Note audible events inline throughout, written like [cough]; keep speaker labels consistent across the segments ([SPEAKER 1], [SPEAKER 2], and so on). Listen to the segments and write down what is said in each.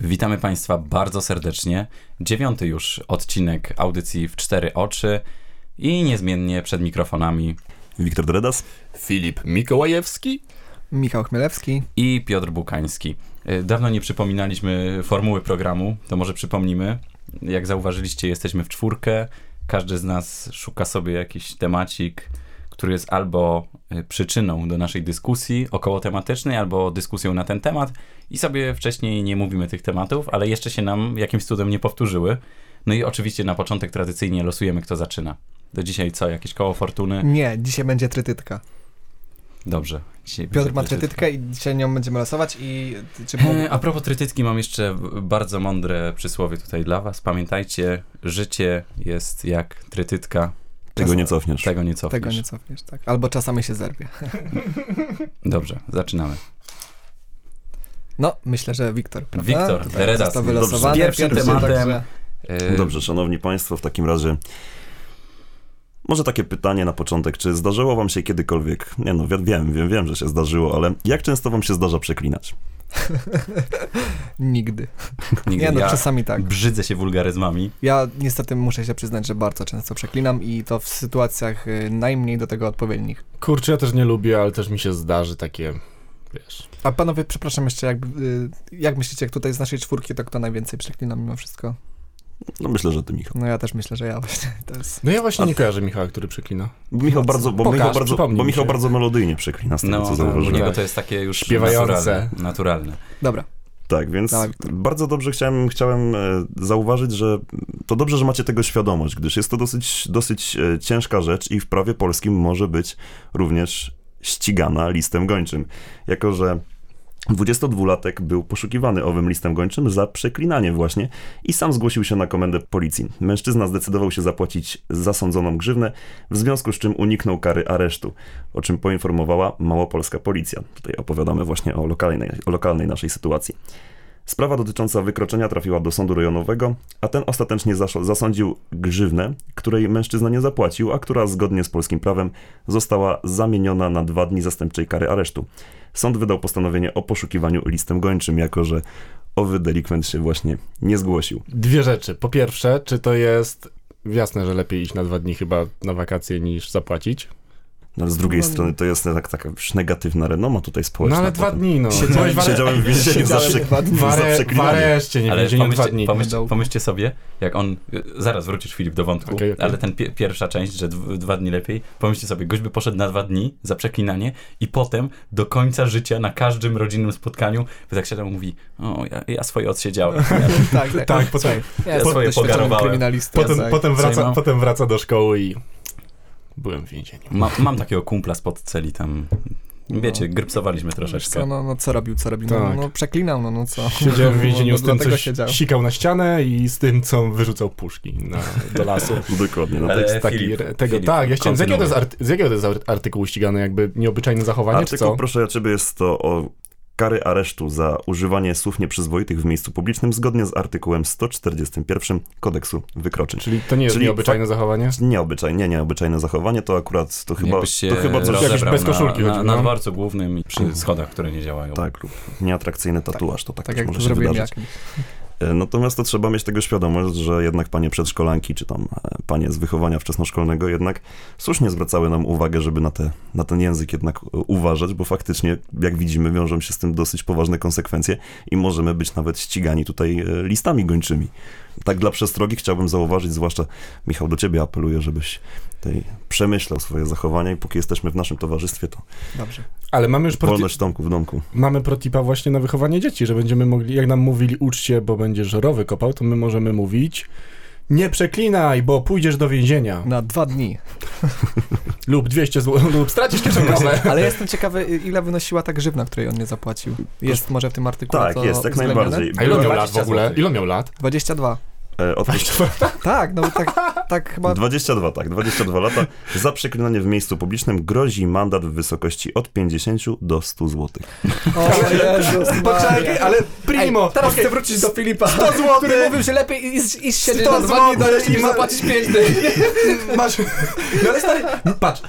[SPEAKER 1] Witamy Państwa bardzo serdecznie. Dziewiąty już odcinek audycji w cztery oczy i niezmiennie przed mikrofonami
[SPEAKER 2] Wiktor Dredas.
[SPEAKER 3] Filip Mikołajewski.
[SPEAKER 4] Michał Chmielewski.
[SPEAKER 1] i Piotr Bukański. Y, Dawno nie przypominaliśmy formuły programu, to może przypomnimy. Jak zauważyliście, jesteśmy w czwórkę. Każdy z nas szuka sobie jakiś temacik, który jest albo y, przyczyną do naszej dyskusji okołotematycznej, albo dyskusją na ten temat i sobie wcześniej nie mówimy tych tematów, ale jeszcze się nam jakimś cudem nie powtórzyły. No i oczywiście na początek tradycyjnie losujemy, kto zaczyna. Do dzisiaj co, jakieś koło fortuny?
[SPEAKER 4] Nie, dzisiaj będzie trytytka.
[SPEAKER 1] Dobrze. Dzisiaj
[SPEAKER 4] Piotr
[SPEAKER 1] będzie
[SPEAKER 4] ma
[SPEAKER 1] trytytka.
[SPEAKER 4] trytytkę i dzisiaj nią będziemy losować i ty- czy mógł...
[SPEAKER 1] E, A propos trytytki, mam jeszcze b- bardzo mądre przysłowie tutaj dla was. Pamiętajcie, życie jest jak trytytka,
[SPEAKER 2] Tego
[SPEAKER 4] Czas-
[SPEAKER 1] Tak.
[SPEAKER 2] nie cofniesz.
[SPEAKER 1] tego nie cofniesz.
[SPEAKER 4] tego nie cofniesz, tak. Albo czasami się zerwie.
[SPEAKER 1] Dobrze, zaczynamy.
[SPEAKER 4] No, myślę, że Wiktor, prawda?
[SPEAKER 1] Wiktor,
[SPEAKER 4] Tutaj
[SPEAKER 1] Deredas.
[SPEAKER 4] został
[SPEAKER 2] Dobrze,
[SPEAKER 4] wylosowany.
[SPEAKER 1] z pierwszym
[SPEAKER 4] Pierwszy,
[SPEAKER 1] tematem.
[SPEAKER 4] także-
[SPEAKER 1] E,
[SPEAKER 2] No Dobrze, szanowni państwo, w takim razie może takie pytanie na początek. Czy zdarzyło wam się kiedykolwiek, nie no, wi- wiem, wiem, wiem, że się zdarzyło, ale jak często wam się zdarza przeklinać?
[SPEAKER 4] Nigdy.
[SPEAKER 1] Nigdy.
[SPEAKER 4] Nie, no
[SPEAKER 1] ja
[SPEAKER 4] czasami tak.
[SPEAKER 1] brzydzę się wulgaryzmami.
[SPEAKER 4] Ja niestety muszę się przyznać, że bardzo często przeklinam i to w sytuacjach y, najmniej do tego odpowiednich.
[SPEAKER 3] Kurczę, ja też nie lubię, ale też mi się zdarzy takie, wiesz...
[SPEAKER 4] A panowie, przepraszam jeszcze, jak, y, jak myślicie, jak tutaj z naszej czwórki, to kto najwięcej przeklina mimo wszystko?
[SPEAKER 2] No myślę, że ty, Michał.
[SPEAKER 4] No ja też myślę, że ja właśnie. To jest...
[SPEAKER 3] No ja właśnie
[SPEAKER 2] A-
[SPEAKER 3] nie kojarzę Michała, który przeklina.
[SPEAKER 2] Bo Michał bardzo, bo
[SPEAKER 3] Pokaż,
[SPEAKER 2] Michał bardzo,
[SPEAKER 3] przypomnij
[SPEAKER 2] bo
[SPEAKER 3] mi
[SPEAKER 2] Michał
[SPEAKER 3] się.
[SPEAKER 2] bardzo melodyjnie przeklina z tego,
[SPEAKER 1] No,
[SPEAKER 2] co
[SPEAKER 1] tak, u
[SPEAKER 2] zauważyłem.
[SPEAKER 1] niego to jest takie już
[SPEAKER 3] Śpiewające.
[SPEAKER 1] naturalne. naturalne.
[SPEAKER 4] Dobra,
[SPEAKER 2] Tak, więc
[SPEAKER 4] Dawaj, Wiktor.
[SPEAKER 2] bardzo dobrze chciałem, chciałem e, zauważyć, że to dobrze, że macie tego świadomość, gdyż jest to dosyć, dosyć e, ciężka rzecz i w prawie polskim może być również ścigana listem gończym. Jako, że 22-latek był poszukiwany owym listem gończym za przeklinanie właśnie i sam zgłosił się na komendę policji. Mężczyzna zdecydował się zapłacić zasądzoną grzywnę, w związku z czym uniknął kary aresztu, o czym poinformowała małopolska policja. Tutaj opowiadamy właśnie o lokalnej, o lokalnej naszej sytuacji. Sprawa dotycząca wykroczenia trafiła do sądu rejonowego, a ten ostatecznie zas- zasądził grzywnę, której mężczyzna nie zapłacił, a która zgodnie z polskim prawem została zamieniona na dwa dni zastępczej kary aresztu. Sąd wydał postanowienie o poszukiwaniu listem gończym, jako że owy delikwent się właśnie nie zgłosił.
[SPEAKER 3] Dwie rzeczy. Po pierwsze, czy to jest... Jasne, że lepiej iść na dwa dni chyba na wakacje niż zapłacić.
[SPEAKER 2] No, ale z drugiej
[SPEAKER 4] No,
[SPEAKER 2] strony to jest tak, taka już negatywna renoma tutaj
[SPEAKER 3] No
[SPEAKER 2] społeczna.
[SPEAKER 3] ale dwa
[SPEAKER 2] potem.
[SPEAKER 3] dni, no.
[SPEAKER 4] Siedziałem-
[SPEAKER 3] Byłeś w are-
[SPEAKER 2] Siedziałem w więzieniu za,
[SPEAKER 4] Siedziałem
[SPEAKER 2] przy... [laughs]
[SPEAKER 4] dwa dni.
[SPEAKER 3] w are-
[SPEAKER 2] za
[SPEAKER 3] W
[SPEAKER 2] przeklinanie.
[SPEAKER 3] areszcie, nie w
[SPEAKER 1] Ale
[SPEAKER 3] więzieniu dwa
[SPEAKER 1] pomyślcie,
[SPEAKER 3] dni.
[SPEAKER 1] pomyślcie,
[SPEAKER 4] Będą.
[SPEAKER 1] pomyślcie sobie, jak on. Zaraz wrócisz Filip do wątku,
[SPEAKER 3] Okej, okej.
[SPEAKER 1] ale ten pie- pierwsza część, że dw- dwa dni lepiej. Pomyślcie sobie, gość by poszedł na dwa dni za przeklinanie i potem do końca życia na każdym rodzinnym spotkaniu by tak siadał i mówi: O, ja, ja swoje odsiedziałem. [laughs]
[SPEAKER 3] [laughs]
[SPEAKER 1] Ja,
[SPEAKER 4] [laughs] tak, tak.
[SPEAKER 3] Tak, potem,
[SPEAKER 4] Ja
[SPEAKER 1] swoje
[SPEAKER 4] jestem doświadczonym
[SPEAKER 1] pogarowałem.
[SPEAKER 4] kryminalistą.
[SPEAKER 3] potem,
[SPEAKER 4] tak.
[SPEAKER 3] potem,
[SPEAKER 1] Zajmą.
[SPEAKER 3] wraca, potem wraca do szkoły i... Byłem w więzieniu.
[SPEAKER 1] ma, mam takiego kumpla spod celi tam. Wiecie,
[SPEAKER 3] No.
[SPEAKER 1] grypsowaliśmy
[SPEAKER 4] Co,
[SPEAKER 1] troszeczkę.
[SPEAKER 4] no, no co robił, co robił? No,
[SPEAKER 3] Tak.
[SPEAKER 4] no przeklinał, no, no co.
[SPEAKER 3] Siedział w więzieniu
[SPEAKER 4] no,
[SPEAKER 3] z tym,
[SPEAKER 4] dlatego
[SPEAKER 3] co
[SPEAKER 4] siedział.
[SPEAKER 3] sikał na ścianę i z tym, co wyrzucał puszki na, do lasu.
[SPEAKER 2] Dokładnie, no
[SPEAKER 1] Ale
[SPEAKER 2] tak.
[SPEAKER 3] tekst taki,
[SPEAKER 1] E, Filip,
[SPEAKER 3] re- tego,
[SPEAKER 1] Filip,
[SPEAKER 3] tak, ja chciałem, z, jakiego to jest
[SPEAKER 1] kontynuuj.
[SPEAKER 3] arty, z jakiego to jest ar- artykuł ścigany, jakby nieobyczajne zachowanie, czy
[SPEAKER 2] Artykuł,
[SPEAKER 3] co?
[SPEAKER 2] proszę o ciebie, jest to o kary aresztu za używanie słów nieprzyzwoitych w miejscu publicznym zgodnie z artykułem 141 kodeksu wykroczeń.
[SPEAKER 3] Czyli to nie jest
[SPEAKER 2] Czyli
[SPEAKER 3] nieobyczajne zachowanie?
[SPEAKER 2] Nieobyczajnie, nieobyczajne zachowanie, to akurat, to chyba,
[SPEAKER 1] Jakbyś się
[SPEAKER 2] to chyba coś,
[SPEAKER 3] rozebrał. Jakiś bez koszulki
[SPEAKER 1] na, na,
[SPEAKER 3] chodził,
[SPEAKER 1] na
[SPEAKER 3] no.
[SPEAKER 1] dworcu głównym i przy schodach, które nie działają.
[SPEAKER 2] tak, lub nieatrakcyjny tatuaż, to tak,
[SPEAKER 4] Tak
[SPEAKER 2] też
[SPEAKER 4] jak
[SPEAKER 2] może
[SPEAKER 4] to
[SPEAKER 2] się
[SPEAKER 4] zrobiłem
[SPEAKER 2] wydarzyć.
[SPEAKER 4] jakimś.
[SPEAKER 2] E, Natomiast to trzeba mieć tego świadomość, że jednak panie przedszkolanki, czy tam e, panie z wychowania wczesnoszkolnego jednak słusznie zwracały nam uwagę, żeby na, te, na ten język jednak e, uważać, bo faktycznie, jak widzimy, wiążą się z tym dosyć poważne konsekwencje i możemy być nawet ścigani tutaj e, listami gończymi. Tak dla przestrogi chciałbym zauważyć, zwłaszcza Michał, do ciebie apeluję, żebyś tutaj przemyślał swoje zachowania i póki jesteśmy w naszym towarzystwie, to
[SPEAKER 4] Dobrze.
[SPEAKER 3] Ale mamy już proti-
[SPEAKER 2] wolność w domku, w domku.
[SPEAKER 3] mamy protipa właśnie na wychowanie dzieci, że będziemy mogli, jak nam mówili uczcie, bo będziesz rowy kopał, to my możemy mówić nie przeklinaj, bo pójdziesz do więzienia
[SPEAKER 4] Na dwa dni.
[SPEAKER 3] lub 200 zł, [laughs] lub stracisz kieszonkowe.
[SPEAKER 4] [laughs] Ale jestem ciekawy, ile wynosiła ta grzywna, której on nie zapłacił. Jest może w tym artykule
[SPEAKER 2] Tak,
[SPEAKER 4] to
[SPEAKER 2] jest, jak
[SPEAKER 4] uwzględnione?
[SPEAKER 2] najbardziej.
[SPEAKER 3] A ile on miał
[SPEAKER 2] 20
[SPEAKER 3] lat w ogóle?
[SPEAKER 2] złotych.
[SPEAKER 3] Ile on miał lat?
[SPEAKER 4] 22.
[SPEAKER 2] E, Odpuść
[SPEAKER 4] Tak, no tak, tak
[SPEAKER 2] [laughs]
[SPEAKER 4] chyba...
[SPEAKER 2] 22, tak, 22 lata. Za przeklinanie w miejscu publicznym grozi mandat w wysokości od 50 do 100 zł.
[SPEAKER 4] O
[SPEAKER 3] [laughs]
[SPEAKER 4] Jezus Maria.
[SPEAKER 3] Tak. ale
[SPEAKER 4] Ej, teraz chcę wrócić do Filipa, 100
[SPEAKER 3] złotych!
[SPEAKER 4] który mówił, że lepiej iść, iść siedzieć
[SPEAKER 3] 100
[SPEAKER 4] na dwa dni do
[SPEAKER 3] złotych
[SPEAKER 4] reszty niż
[SPEAKER 3] i ma-
[SPEAKER 4] zapłacić 5 dni.
[SPEAKER 3] Masz. No ale stary, patrz.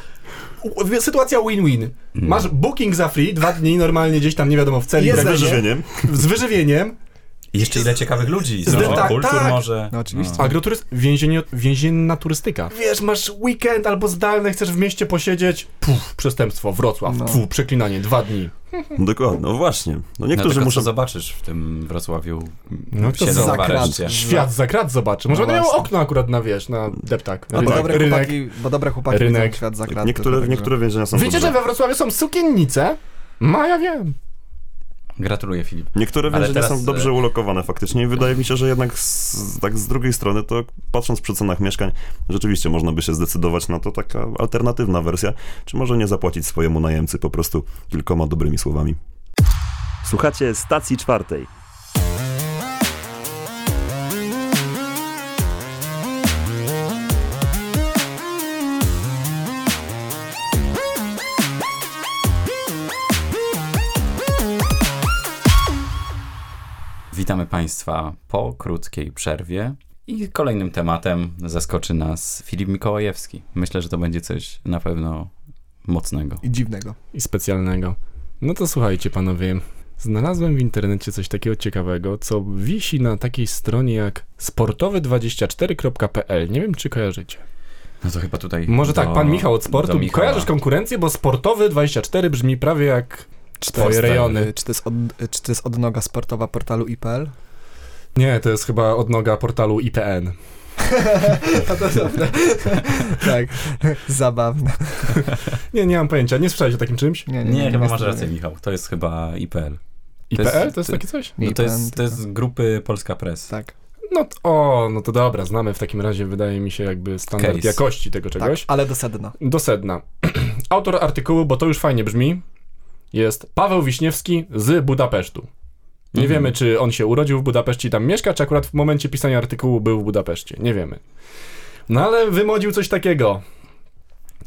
[SPEAKER 3] U- w- Sytuacja win-win.
[SPEAKER 4] Mm.
[SPEAKER 3] Masz booking za free, dwa dni normalnie gdzieś tam, nie wiadomo, w celi.
[SPEAKER 4] Jest
[SPEAKER 3] tak
[SPEAKER 2] Z
[SPEAKER 4] Jedzenie.
[SPEAKER 2] wyżywieniem.
[SPEAKER 3] z wyżywieniem
[SPEAKER 1] I Jeszcze ile ciekawych ludzi.
[SPEAKER 3] Z-
[SPEAKER 1] Znowu
[SPEAKER 3] tak,
[SPEAKER 1] kultur
[SPEAKER 3] tak.
[SPEAKER 1] może.
[SPEAKER 4] No oczywiście.
[SPEAKER 3] Agroturyst... Więzienie... Więzienna turystyka. Wiesz, masz weekend albo zdalny, chcesz w mieście posiedzieć. Puf, przestępstwo, Wrocław.
[SPEAKER 4] No.
[SPEAKER 3] Puf, przeklinanie, dwa dni.
[SPEAKER 2] Dokładnie, no właśnie. No
[SPEAKER 1] Niektórzy
[SPEAKER 2] niektórzy
[SPEAKER 1] no, muszą...
[SPEAKER 2] muszą...
[SPEAKER 1] zobaczysz w tym Wrocławiu
[SPEAKER 3] No to
[SPEAKER 1] siedzą w
[SPEAKER 4] zakrad.
[SPEAKER 1] areszcie.
[SPEAKER 3] Świat za krat zobaczy. Może
[SPEAKER 4] No
[SPEAKER 3] no miał
[SPEAKER 4] właśnie.
[SPEAKER 3] okno akurat na, wiesz, na deptak.
[SPEAKER 4] No, bo,
[SPEAKER 3] Rynek.
[SPEAKER 4] dobre
[SPEAKER 3] Tak, Rynek.
[SPEAKER 4] chłopaki, bo dobre chłopaki
[SPEAKER 3] Rynek.
[SPEAKER 4] widzą świat za krat,
[SPEAKER 2] Niektóre,
[SPEAKER 4] dlatego-
[SPEAKER 2] niektóre więzienia są
[SPEAKER 3] Wiecie, że
[SPEAKER 2] dobre.
[SPEAKER 3] we Wrocławiu są sukiennice? Ma, ja wiem.
[SPEAKER 1] Gratuluję Filip.
[SPEAKER 2] Niektóre
[SPEAKER 1] Ale
[SPEAKER 2] więzienia
[SPEAKER 1] teraz,
[SPEAKER 2] są dobrze ulokowane faktycznie i wydaje mi się, że jednak z, tak z drugiej strony, to patrząc przy cenach mieszkań, rzeczywiście można by się zdecydować na to taka alternatywna wersja, czy może nie zapłacić swojemu najemcy po prostu kilkoma dobrymi słowami.
[SPEAKER 5] Słuchacie stacji czwartej.
[SPEAKER 1] Witamy Państwa po krótkiej przerwie. I kolejnym tematem zaskoczy nas Filip Mikołajewski. Myślę, że to będzie coś na pewno mocnego.
[SPEAKER 4] I dziwnego.
[SPEAKER 3] I specjalnego. No to słuchajcie, panowie. Znalazłem w internecie coś takiego ciekawego, co wisi na takiej stronie jak sportowy24.pl. Nie wiem, czy kojarzycie.
[SPEAKER 1] No to chyba tutaj.
[SPEAKER 3] Może
[SPEAKER 1] do-
[SPEAKER 3] tak, pan Michał od
[SPEAKER 1] do
[SPEAKER 3] sportu.
[SPEAKER 1] Michała.
[SPEAKER 3] Kojarzysz konkurencję, bo sportowy 24 brzmi prawie jak twoje
[SPEAKER 1] Sportster.
[SPEAKER 3] rejony.
[SPEAKER 4] Y, Czy to jest, od, y, czy to jest odnoga sportowa portalu
[SPEAKER 3] [laughs]
[SPEAKER 4] IPL?
[SPEAKER 3] Nie, to jest chyba odnoga portalu IPN.
[SPEAKER 4] [laughs] to dobre. tak, zabawne.
[SPEAKER 3] Nie, nie mam pojęcia. Nie słyszałeś o takim czymś?
[SPEAKER 4] Nie,
[SPEAKER 1] Nie, chyba masz
[SPEAKER 4] słyszałem.
[SPEAKER 1] rację, Michał. To jest chyba IPL. To jest-
[SPEAKER 3] IPL? To jest
[SPEAKER 1] to-
[SPEAKER 3] takie coś?
[SPEAKER 4] Nie,
[SPEAKER 1] No to,
[SPEAKER 4] IPN,
[SPEAKER 1] jest, to
[SPEAKER 4] tylko-
[SPEAKER 1] jest z grupy Polska Press.
[SPEAKER 4] Tak,
[SPEAKER 3] No t- o, no to dobra, znamy w takim razie, wydaje mi się, jakby standard
[SPEAKER 1] Case.
[SPEAKER 3] jakości tego
[SPEAKER 4] tak,
[SPEAKER 3] czegoś.
[SPEAKER 4] ale do
[SPEAKER 3] [laughs]
[SPEAKER 4] sedna.
[SPEAKER 3] Do sedna. [clears throat] Autor artykułu, bo to już fajnie brzmi, jest Paweł Wiśniewski z Budapesztu. Nie
[SPEAKER 1] Mhm.
[SPEAKER 3] wiemy, czy on się urodził w Budapeszcie i tam mieszka, czy akurat w momencie pisania artykułu był w Budapeszcie. Nie wiemy. No ale wymodził coś takiego.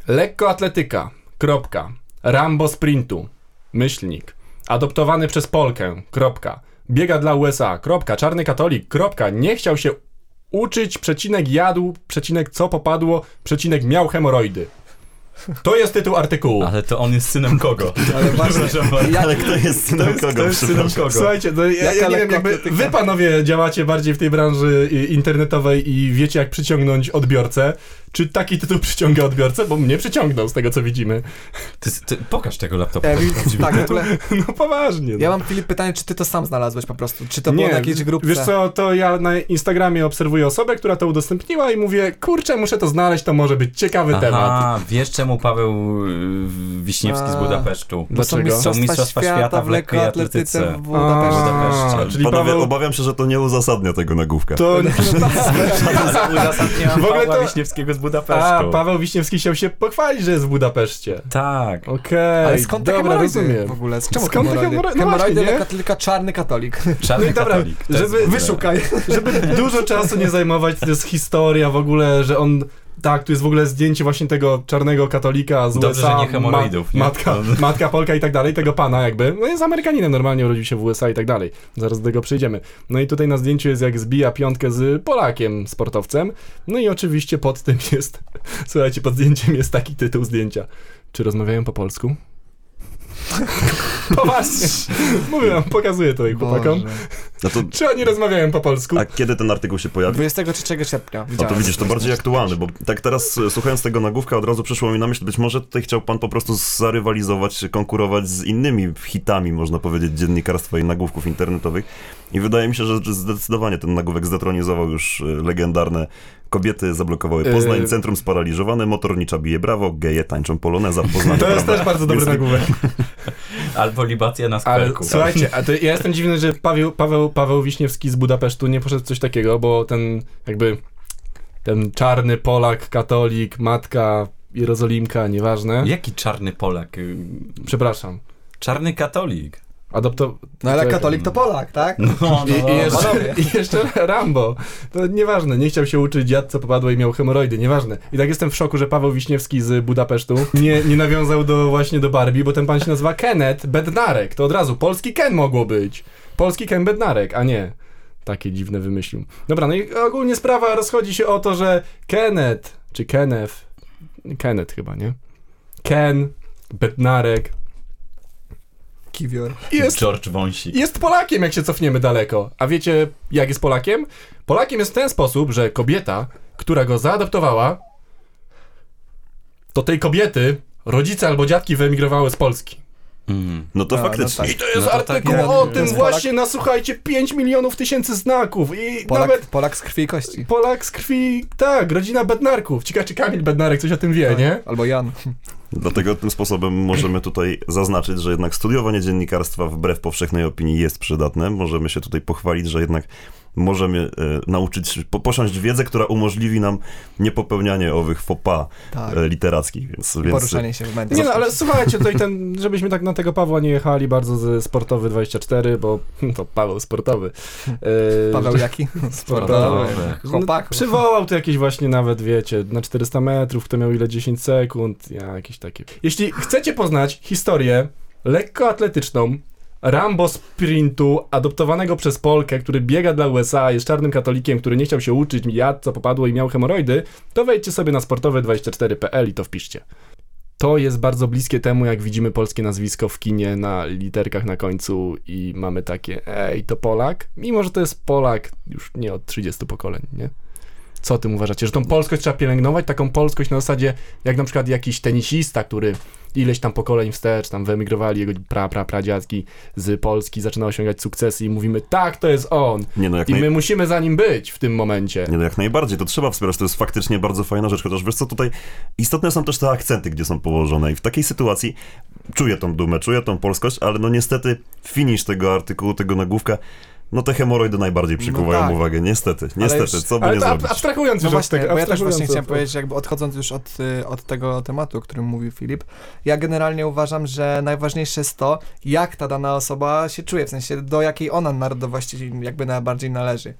[SPEAKER 3] Lekkoatletyka. Kropka. Rambo sprintu. Myślnik. Adoptowany przez Polkę. Kropka. Biega dla USA. Kropka. Czarny katolik. Kropka. Nie chciał się uczyć. Przecinek jadł. Przecinek co popadło. Przecinek miał hemoroidy. To jest tytuł artykułu.
[SPEAKER 1] Ale to on jest synem kogo?
[SPEAKER 4] Ale właśnie, ja,
[SPEAKER 2] Ale kto jest synem kogo? przepraszam?
[SPEAKER 3] Słuchajcie, no ja, ja
[SPEAKER 4] Jaka
[SPEAKER 3] nie wiem, jakby
[SPEAKER 4] lekkoatletyka?
[SPEAKER 3] wy panowie działacie bardziej w tej branży y, internetowej i wiecie, jak przyciągnąć odbiorcę. Czy taki tytuł [laughs] przyciąga odbiorcę? Bo mnie przyciągnął z tego, co widzimy. [laughs]
[SPEAKER 1] Ty, ty, pokaż tego laptopa.
[SPEAKER 4] e, wi- tak, w ogóle,
[SPEAKER 3] No poważnie.
[SPEAKER 4] ja
[SPEAKER 3] no.
[SPEAKER 4] mam Filip pytanie, czy ty to sam znalazłeś po prostu? Czy to było na jakiejś grupce?
[SPEAKER 3] Wiesz co, to ja na Instagramie obserwuję osobę, która to udostępniła i mówię, kurczę, muszę to znaleźć, to może być ciekawy temat.
[SPEAKER 1] Aha, wiesz czemu Paweł y, Wiśniewski z
[SPEAKER 4] A.
[SPEAKER 1] Budapesztu?
[SPEAKER 4] Bo są
[SPEAKER 3] Dlaczego?
[SPEAKER 4] mistrzostwa,
[SPEAKER 1] Są mistrzostwa
[SPEAKER 4] świata,
[SPEAKER 1] świata
[SPEAKER 4] w lekkiej atletyce,
[SPEAKER 1] atletyce.
[SPEAKER 4] w Budapeszcie.
[SPEAKER 1] Budapeszcie.
[SPEAKER 3] A, Czyli
[SPEAKER 2] Panowie,
[SPEAKER 3] Paweł,
[SPEAKER 2] obawiam się, że to nie uzasadnia tego nagłówka.
[SPEAKER 3] to... [laughs]
[SPEAKER 4] [laughs]
[SPEAKER 1] Uzasadniam
[SPEAKER 3] W ogóle
[SPEAKER 1] Pawła
[SPEAKER 3] to-
[SPEAKER 1] Wiśniewskiego z
[SPEAKER 3] A,
[SPEAKER 1] Budapesztu.
[SPEAKER 3] Paweł Wiśniewski chciał się pochwalić, że jest w Budapeszcie.
[SPEAKER 1] Tak.
[SPEAKER 3] No Okej,
[SPEAKER 4] Ale skąd te
[SPEAKER 3] dobra,
[SPEAKER 4] hemoroidy
[SPEAKER 3] rozumiem.
[SPEAKER 4] w ogóle? Z czemu
[SPEAKER 3] Skąd te
[SPEAKER 4] hemoroidy?
[SPEAKER 3] hemoroidy? No
[SPEAKER 4] Hemoroidy
[SPEAKER 3] właśnie, nie?
[SPEAKER 4] lekkoatletyka, czarny katolik.
[SPEAKER 1] Czarny
[SPEAKER 3] No i dobra,
[SPEAKER 1] katolik. tak. To jest
[SPEAKER 3] żeby-
[SPEAKER 1] w ogóle-
[SPEAKER 4] Wyszukaj.
[SPEAKER 3] żeby dużo czasu nie zajmować, to jest historia w ogóle, że on. Tak, tu jest w ogóle zdjęcie właśnie tego czarnego katolika z
[SPEAKER 1] Dobrze,
[SPEAKER 3] USA.
[SPEAKER 1] że nie hemoroidów, nie? No.
[SPEAKER 3] Matka, [laughs] matka Polka i tak dalej, tego pana jakby. No jest Amerykaninem, normalnie urodził się w USA i tak dalej. Zaraz do tego przyjdziemy. No i tutaj na zdjęciu jest jak zbija piątkę z Polakiem, sportowcem. No i oczywiście pod tym [laughs] jest, słuchajcie, pod zdjęciem jest taki tytuł zdjęcia. Czy rozmawiają po
[SPEAKER 1] [laughs]
[SPEAKER 3] polsku? Poważnie. Mówię wam, pokazuję to jej chłopakom.
[SPEAKER 4] Boże.
[SPEAKER 2] No to,
[SPEAKER 3] Czy oni rozmawiają po polsku?
[SPEAKER 2] a kiedy ten artykuł się pojawi?
[SPEAKER 4] 23 sierpnia.
[SPEAKER 2] No to
[SPEAKER 4] widziałem.
[SPEAKER 2] widzisz, to bardziej aktualny, bo tak teraz e, słuchając tego nagłówka od razu przyszło mi na myśl, być może tutaj chciał pan po prostu zarywalizować, konkurować z innymi hitami, można powiedzieć, dziennikarstwa i nagłówków internetowych. I wydaje mi się, że zdecydowanie ten nagłówek zdetronizował już e, legendarne kobiety zablokowały Poznań,
[SPEAKER 3] Yy.
[SPEAKER 2] centrum sparaliżowane, motornicza bije brawo, geje tańczą poloneza, Poznań
[SPEAKER 3] To jest
[SPEAKER 2] brawo.
[SPEAKER 3] też bardzo dobry
[SPEAKER 2] Więc-
[SPEAKER 3] nagłówek.
[SPEAKER 1] Albo libacja na
[SPEAKER 3] Ale
[SPEAKER 1] spelku.
[SPEAKER 3] słuchajcie, a to, ja jestem dziwny, że Paweł, Paweł, Paweł Wiśniewski z Budapesztu nie poszedł w coś takiego, bo ten jakby ten czarny Polak, katolik, matka, Jerozolimka, nieważne.
[SPEAKER 1] Jaki czarny Polak? Y,
[SPEAKER 3] Przepraszam.
[SPEAKER 1] Czarny katolik.
[SPEAKER 3] Adopto...
[SPEAKER 4] No ale
[SPEAKER 3] Czekaj.
[SPEAKER 4] katolik to Polak, tak?
[SPEAKER 1] No,
[SPEAKER 3] I, i,
[SPEAKER 4] panowie.
[SPEAKER 3] jeszcze, I jeszcze Rambo. To nieważne, nie chciał się uczyć, dziad co popadło i miał hemoroidy, nieważne. I tak jestem w szoku, że Paweł Wiśniewski z Budapesztu nie, nie nawiązał do, właśnie do Barbie, bo ten pan się nazywa Kenneth Bednarek. To od razu polski Ken mogło być. Polski Ken Bednarek, a nie. Takie dziwne wymyślił. Dobra, no i ogólnie sprawa rozchodzi się o to, że Kenneth, czy Kenneth, Kenneth chyba, nie? Ken, Bednarek,
[SPEAKER 4] Kiwior.
[SPEAKER 3] Jest
[SPEAKER 1] George Wąsik.
[SPEAKER 3] jest Polakiem, jak się cofniemy daleko. A wiecie, jak jest Polakiem? Polakiem jest w ten sposób, że kobieta, która go zaadoptowała, to tej kobiety rodzice albo dziadki wyemigrowały z Polski.
[SPEAKER 1] Mm.
[SPEAKER 2] No to
[SPEAKER 4] A, no
[SPEAKER 2] faktycznie.
[SPEAKER 4] tak.
[SPEAKER 3] I to jest
[SPEAKER 1] No to tak,
[SPEAKER 3] artykuł
[SPEAKER 4] nie,
[SPEAKER 3] o
[SPEAKER 4] to
[SPEAKER 3] tym
[SPEAKER 4] jest
[SPEAKER 3] właśnie, nasłuchajcie, 5 milionów tysięcy znaków i
[SPEAKER 4] Polak,
[SPEAKER 3] nawet
[SPEAKER 4] Polak z krwi i kości.
[SPEAKER 3] Polak z krwi, tak, rodzina Bednarków. Ciekawe, czy Kamil Bednarek coś o tym
[SPEAKER 4] Tak.
[SPEAKER 3] wie, E, nie?
[SPEAKER 4] Albo Jan.
[SPEAKER 2] Dlatego tym sposobem możemy tutaj zaznaczyć, że jednak studiowanie dziennikarstwa wbrew powszechnej opinii jest przydatne. Możemy się tutaj pochwalić, że jednak możemy e, nauczyć, po, posiąść wiedzę, która umożliwi nam niepopełnianie owych faux pas
[SPEAKER 4] Tak.
[SPEAKER 2] e, literackich, więc... więc
[SPEAKER 4] Poruszanie się w mediach.
[SPEAKER 3] Nie no, ale słuchajcie, tutaj ten,
[SPEAKER 4] [laughs]
[SPEAKER 3] żebyśmy tak na tego Pawła nie jechali bardzo z Sportowy 24, bo [laughs] to Paweł Sportowy. Yy,
[SPEAKER 4] Paweł
[SPEAKER 3] [laughs]
[SPEAKER 4] jaki?
[SPEAKER 1] Sportowy.
[SPEAKER 3] No,
[SPEAKER 4] Chłopak.
[SPEAKER 3] Tak, Przywołał to jakieś właśnie nawet, wiecie, na 400 metrów, kto miał ile 10 sekund, ja, jakieś takie. Jeśli chcecie poznać historię lekkoatletyczną Rambo sprintu adoptowanego przez Polkę, który biega dla USA, jest czarnym katolikiem, który nie chciał się uczyć, jadł co popadło i miał hemoroidy, to wejdźcie sobie na sportowe24.pl i to wpiszcie. To jest bardzo bliskie temu, jak widzimy polskie nazwisko w kinie na literkach na końcu i mamy takie, ej, to Polak? Mimo, że to jest Polak już nie od 30 pokoleń, nie? Co o tym uważacie? Że tą polskość trzeba pielęgnować? Taką polskość na zasadzie, jak na przykład jakiś tenisista, który ileś tam pokoleń wstecz, tam wyemigrowali jego pra, pra, pradziadki z Polski, zaczyna osiągać sukcesy i mówimy, tak, to jest on!
[SPEAKER 2] Nie no, jak
[SPEAKER 3] I
[SPEAKER 2] naj...
[SPEAKER 3] my musimy za nim być w tym momencie.
[SPEAKER 2] Nie, no jak najbardziej, to trzeba wspierać, to jest faktycznie bardzo fajna rzecz, chociaż wiesz co, tutaj istotne są też te akcenty, gdzie są położone i w takiej sytuacji czuję tą dumę, czuję tą polskość, ale no niestety finisz tego artykułu, tego nagłówka, no te hemoroidy najbardziej przykuwają
[SPEAKER 4] tak.
[SPEAKER 2] uwagę, niestety, niestety,
[SPEAKER 4] już-
[SPEAKER 2] co by No,
[SPEAKER 3] Ale
[SPEAKER 2] nie
[SPEAKER 3] to ab-
[SPEAKER 2] zrobić.
[SPEAKER 3] abstrahując
[SPEAKER 4] No
[SPEAKER 3] już od
[SPEAKER 4] właśnie,
[SPEAKER 3] tego,
[SPEAKER 4] bo ja też
[SPEAKER 3] abstrahując
[SPEAKER 4] właśnie chciałem
[SPEAKER 3] od-
[SPEAKER 4] powiedzieć, jakby odchodząc już od, y, od tego tematu, o którym mówił Filip, ja generalnie uważam, że najważniejsze jest to, jak ta dana osoba się czuje, w sensie do jakiej ona narodowości jakby najbardziej należy.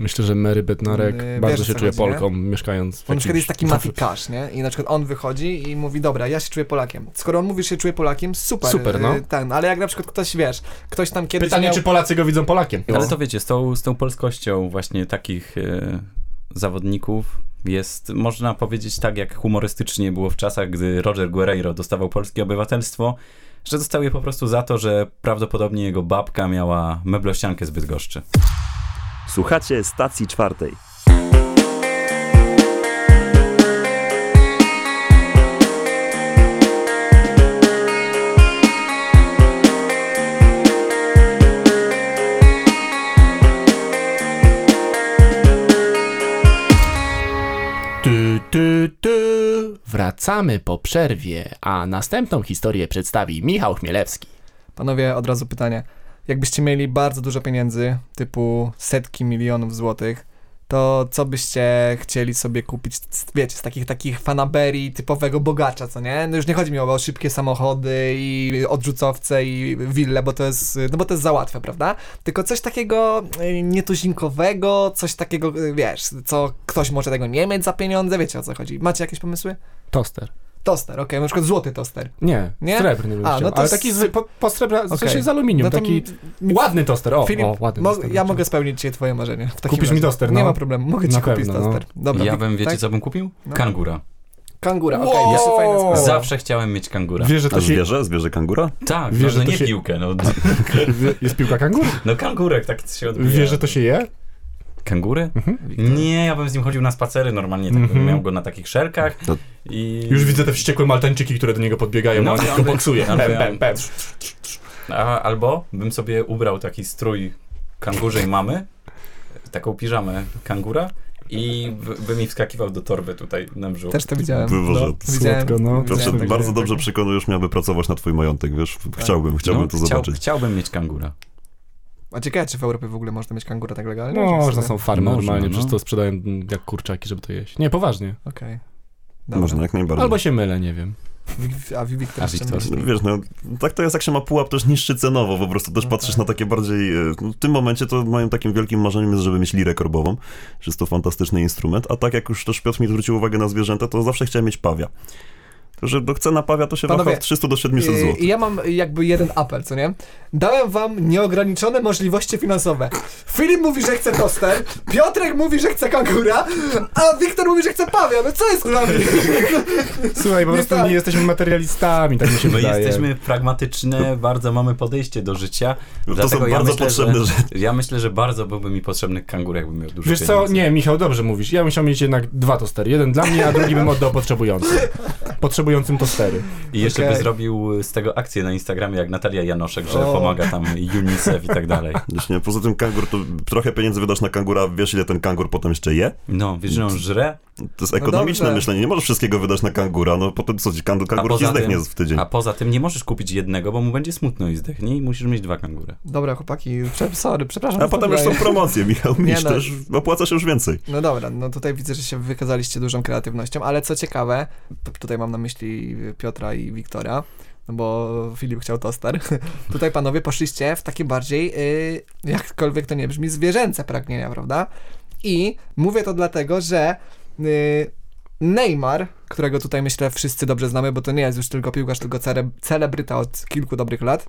[SPEAKER 3] Myślę, że Mary Bednarek
[SPEAKER 4] Yy, wiesz,
[SPEAKER 3] bardzo
[SPEAKER 4] o
[SPEAKER 3] się
[SPEAKER 4] co
[SPEAKER 3] czuje
[SPEAKER 4] chodzi, nie?
[SPEAKER 3] Polką, mieszkając w
[SPEAKER 4] On na przykład
[SPEAKER 3] jakimś...
[SPEAKER 4] jest taki matikarz, nie? I na przykład on wychodzi i mówi, dobra, ja się czuję Polakiem. Skoro on mówi, że się czuje Polakiem, super.
[SPEAKER 3] Super, no.
[SPEAKER 4] y, Ten, ale jak na przykład ktoś, wiesz, ktoś tam kiedyś
[SPEAKER 3] Pytanie,
[SPEAKER 4] miał... No.
[SPEAKER 3] czy Polacy go widzą Polakiem?
[SPEAKER 1] Ale to wiecie, z tą, z tą polskością właśnie takich e, zawodników jest, można powiedzieć tak, jak humorystycznie było w czasach, gdy Roger Guerreiro dostawał polskie obywatelstwo, że dostał je po prostu za to, że prawdopodobnie jego babka miała meblościankę zbyt goszczy.
[SPEAKER 5] Słuchacie stacji czwartej.
[SPEAKER 3] Tu, tu, tu. Wracamy po przerwie, a następną historię przedstawi Michał Chmielewski.
[SPEAKER 4] Panowie, od razu pytanie. Jakbyście mieli bardzo dużo pieniędzy, typu setki milionów złotych, to co byście chcieli sobie kupić, z- wiecie, z takich takich fanaberii typowego bogacza, co nie? No już nie chodzi mi o szybkie samochody i odrzucowce i wille, bo to jest, no bo to jest za łatwe, prawda? Tylko coś takiego y, nietuzinkowego, coś takiego, y, wiesz, co ktoś może tego nie mieć za pieniądze, wiecie o co chodzi. Macie jakieś pomysły?
[SPEAKER 3] Toster.
[SPEAKER 4] Toster, okej, na przykład złoty toster.
[SPEAKER 3] Nie,
[SPEAKER 4] Nie?
[SPEAKER 3] srebrny bym
[SPEAKER 4] A,
[SPEAKER 3] chciał,
[SPEAKER 4] no to
[SPEAKER 3] ale
[SPEAKER 4] s-
[SPEAKER 3] taki z, po, po srebra, w sensie
[SPEAKER 4] Okej.
[SPEAKER 3] z aluminium,
[SPEAKER 4] No to
[SPEAKER 3] taki
[SPEAKER 4] mi-
[SPEAKER 3] ładny toster, o,
[SPEAKER 4] Filip,
[SPEAKER 3] o no. ładny
[SPEAKER 4] mo-
[SPEAKER 3] toster.
[SPEAKER 4] ja
[SPEAKER 3] bym
[SPEAKER 4] mogę spełnić dzisiaj twoje marzenie. W takim
[SPEAKER 3] Kupisz
[SPEAKER 4] razie.
[SPEAKER 3] mi toster,
[SPEAKER 4] Nie
[SPEAKER 3] no.
[SPEAKER 4] ma problemu, mogę ci
[SPEAKER 3] Na
[SPEAKER 4] kupić
[SPEAKER 3] pewno, no.
[SPEAKER 4] toster. Dobra,
[SPEAKER 1] ja
[SPEAKER 4] wi-
[SPEAKER 1] bym, wiecie
[SPEAKER 4] tak?
[SPEAKER 1] co bym kupił?
[SPEAKER 4] No.
[SPEAKER 1] Kangura.
[SPEAKER 4] Kangura, okej,
[SPEAKER 3] Wow!
[SPEAKER 4] jeszcze fajny
[SPEAKER 3] O.
[SPEAKER 4] sposób.
[SPEAKER 1] Zawsze chciałem mieć kangura.
[SPEAKER 3] Wiesz, że
[SPEAKER 2] A
[SPEAKER 3] to się...
[SPEAKER 2] zwierzę? Zwierzę kangura?
[SPEAKER 1] tak,
[SPEAKER 3] wiesz,
[SPEAKER 1] no,
[SPEAKER 3] że
[SPEAKER 1] no
[SPEAKER 3] to
[SPEAKER 1] nie
[SPEAKER 3] się-
[SPEAKER 1] piłkę, no, [laughs]
[SPEAKER 3] Jest piłka kanguru.
[SPEAKER 1] no kangurek, tak się odbija.
[SPEAKER 3] Wiesz, że to się je? Mhm.
[SPEAKER 1] Kangury? Nie, ja bym z nim chodził na spacery normalnie, tak bym miał go na takich szelkach
[SPEAKER 2] To-
[SPEAKER 1] i...
[SPEAKER 3] Już widzę te wściekłe maltańczyki, które do niego podbiegają,
[SPEAKER 1] No,
[SPEAKER 3] no, on
[SPEAKER 1] ja
[SPEAKER 3] go
[SPEAKER 1] bym-
[SPEAKER 3] boksuje.
[SPEAKER 1] ja
[SPEAKER 3] Pem,
[SPEAKER 1] bym-
[SPEAKER 3] pem, pem.
[SPEAKER 1] A, albo bym sobie ubrał taki strój kangurzej mamy, taką piżamę kangura i by, by mi wskakiwał do torby tutaj na brzuch.
[SPEAKER 4] Też to widziałem.
[SPEAKER 2] Boże,
[SPEAKER 3] No.
[SPEAKER 4] Widziałem,
[SPEAKER 3] Słodko, no.
[SPEAKER 2] proszę,
[SPEAKER 4] widziałem.
[SPEAKER 3] tak,
[SPEAKER 2] bardzo
[SPEAKER 3] tak. No,
[SPEAKER 2] dobrze przekonujesz mnie, aby pracować na twój majątek, wiesz? Chciałbym, chciałbym to
[SPEAKER 1] No, chciał-
[SPEAKER 2] zobaczyć.
[SPEAKER 1] Chciałbym mieć kangura.
[SPEAKER 4] A ciekawe, czy w Europie w ogóle można mieć kangura tak legalnie?
[SPEAKER 3] No,
[SPEAKER 4] Czy w
[SPEAKER 3] można
[SPEAKER 4] sumie-
[SPEAKER 3] są farmy
[SPEAKER 1] Można,
[SPEAKER 3] normalnie,
[SPEAKER 1] no.
[SPEAKER 3] przecież to sprzedają mm, jak kurczaki, żeby to jeść. Nie, poważnie.
[SPEAKER 4] Okej. Dobra.
[SPEAKER 2] Można, jak najbardziej.
[SPEAKER 3] Albo się mylę, nie wiem.
[SPEAKER 4] Wi- A Wiktor
[SPEAKER 1] A
[SPEAKER 4] jeszcze
[SPEAKER 1] Wiktor?
[SPEAKER 4] myśli.
[SPEAKER 2] Wiesz, no, tak to jest, jak się ma pułap też niższy cenowo, po prostu też
[SPEAKER 4] No
[SPEAKER 2] patrzysz
[SPEAKER 4] tak.
[SPEAKER 2] na takie bardziej, e, no, w tym momencie to moim takim wielkim marzeniem jest, żeby mieć lirę korbową, że jest to fantastyczny instrument, a tak jak już też Piotr mi zwrócił uwagę na zwierzęta, to zawsze chciałem mieć pawia. To, że no, cena pawia to się waha
[SPEAKER 4] Panowie,
[SPEAKER 2] od 300 do 700
[SPEAKER 4] I-
[SPEAKER 2] zł.
[SPEAKER 4] I ja mam jakby jeden apel, co nie? Dałem wam nieograniczone możliwości finansowe. Filip mówi, że chce toster, Piotrek mówi, że chce kangura, a Wiktor mówi, że chce pawia. No co jest z nami?
[SPEAKER 3] Słuchaj, po
[SPEAKER 4] Nie
[SPEAKER 3] prostu
[SPEAKER 4] tak.
[SPEAKER 3] nie jesteśmy materialistami, tak mi się
[SPEAKER 1] My
[SPEAKER 3] wydaje.
[SPEAKER 1] jesteśmy pragmatyczne, bardzo mamy podejście do życia.
[SPEAKER 2] No To są
[SPEAKER 1] Dlatego ja
[SPEAKER 2] bardzo
[SPEAKER 1] myślę,
[SPEAKER 2] potrzebne
[SPEAKER 1] że-
[SPEAKER 2] rzeczy.
[SPEAKER 1] Ja myślę, że bardzo byłby mi potrzebny kangur, jakbym miał dużo
[SPEAKER 3] Wiesz co,
[SPEAKER 1] pieniędzy.
[SPEAKER 3] nie, Michał, dobrze mówisz. Ja bym chciał mieć jednak dwa tostery. Jeden dla mnie, a drugi bym oddał [laughs] potrzebującym. Potrzebującym tostery.
[SPEAKER 1] I jeszcze
[SPEAKER 4] Okej.
[SPEAKER 1] by zrobił z tego akcję na Instagramie, jak Natalia Janoszek, że
[SPEAKER 4] O.
[SPEAKER 1] pomaga tam UNICEF i tak dalej.
[SPEAKER 2] Wiesz, nie? Poza tym kangur, to trochę pieniędzy wydasz na kangura, wiesz ile ten kangur potem jeszcze je?
[SPEAKER 1] No, wiesz, że on żre,
[SPEAKER 2] To jest ekonomiczne
[SPEAKER 4] No dobrze.
[SPEAKER 2] myślenie, nie możesz wszystkiego wydać na kangura, no potem co ci, kangur, kangur ci
[SPEAKER 1] poza
[SPEAKER 2] zdechnie
[SPEAKER 1] tym-
[SPEAKER 2] w tydzień.
[SPEAKER 1] a poza tym nie możesz kupić jednego, bo mu będzie smutno i zdechnie i musisz mieć dwa kangury.
[SPEAKER 4] Dobra, chłopaki, prze- sorry, przepraszam.
[SPEAKER 2] A
[SPEAKER 4] za to
[SPEAKER 2] potem już są
[SPEAKER 4] wydaje.
[SPEAKER 2] promocje, Michał,
[SPEAKER 4] No Nie
[SPEAKER 2] mistrz,
[SPEAKER 4] no.
[SPEAKER 2] to już opłaca się już więcej.
[SPEAKER 4] No dobra, no tutaj widzę, że się wykazaliście dużą kreatywnością, ale co ciekawe, t- tutaj mam na myśli Piotra i Wiktora, no bo Filip chciał toster. [laughs] Tutaj panowie poszliście w takie bardziej, y, jakkolwiek to nie brzmi, zwierzęce pragnienia, prawda? I mówię to dlatego, że y, Neymar, którego tutaj myślę wszyscy dobrze znamy, bo to nie jest już tylko piłkarz, tylko cere- celebryta od kilku dobrych lat,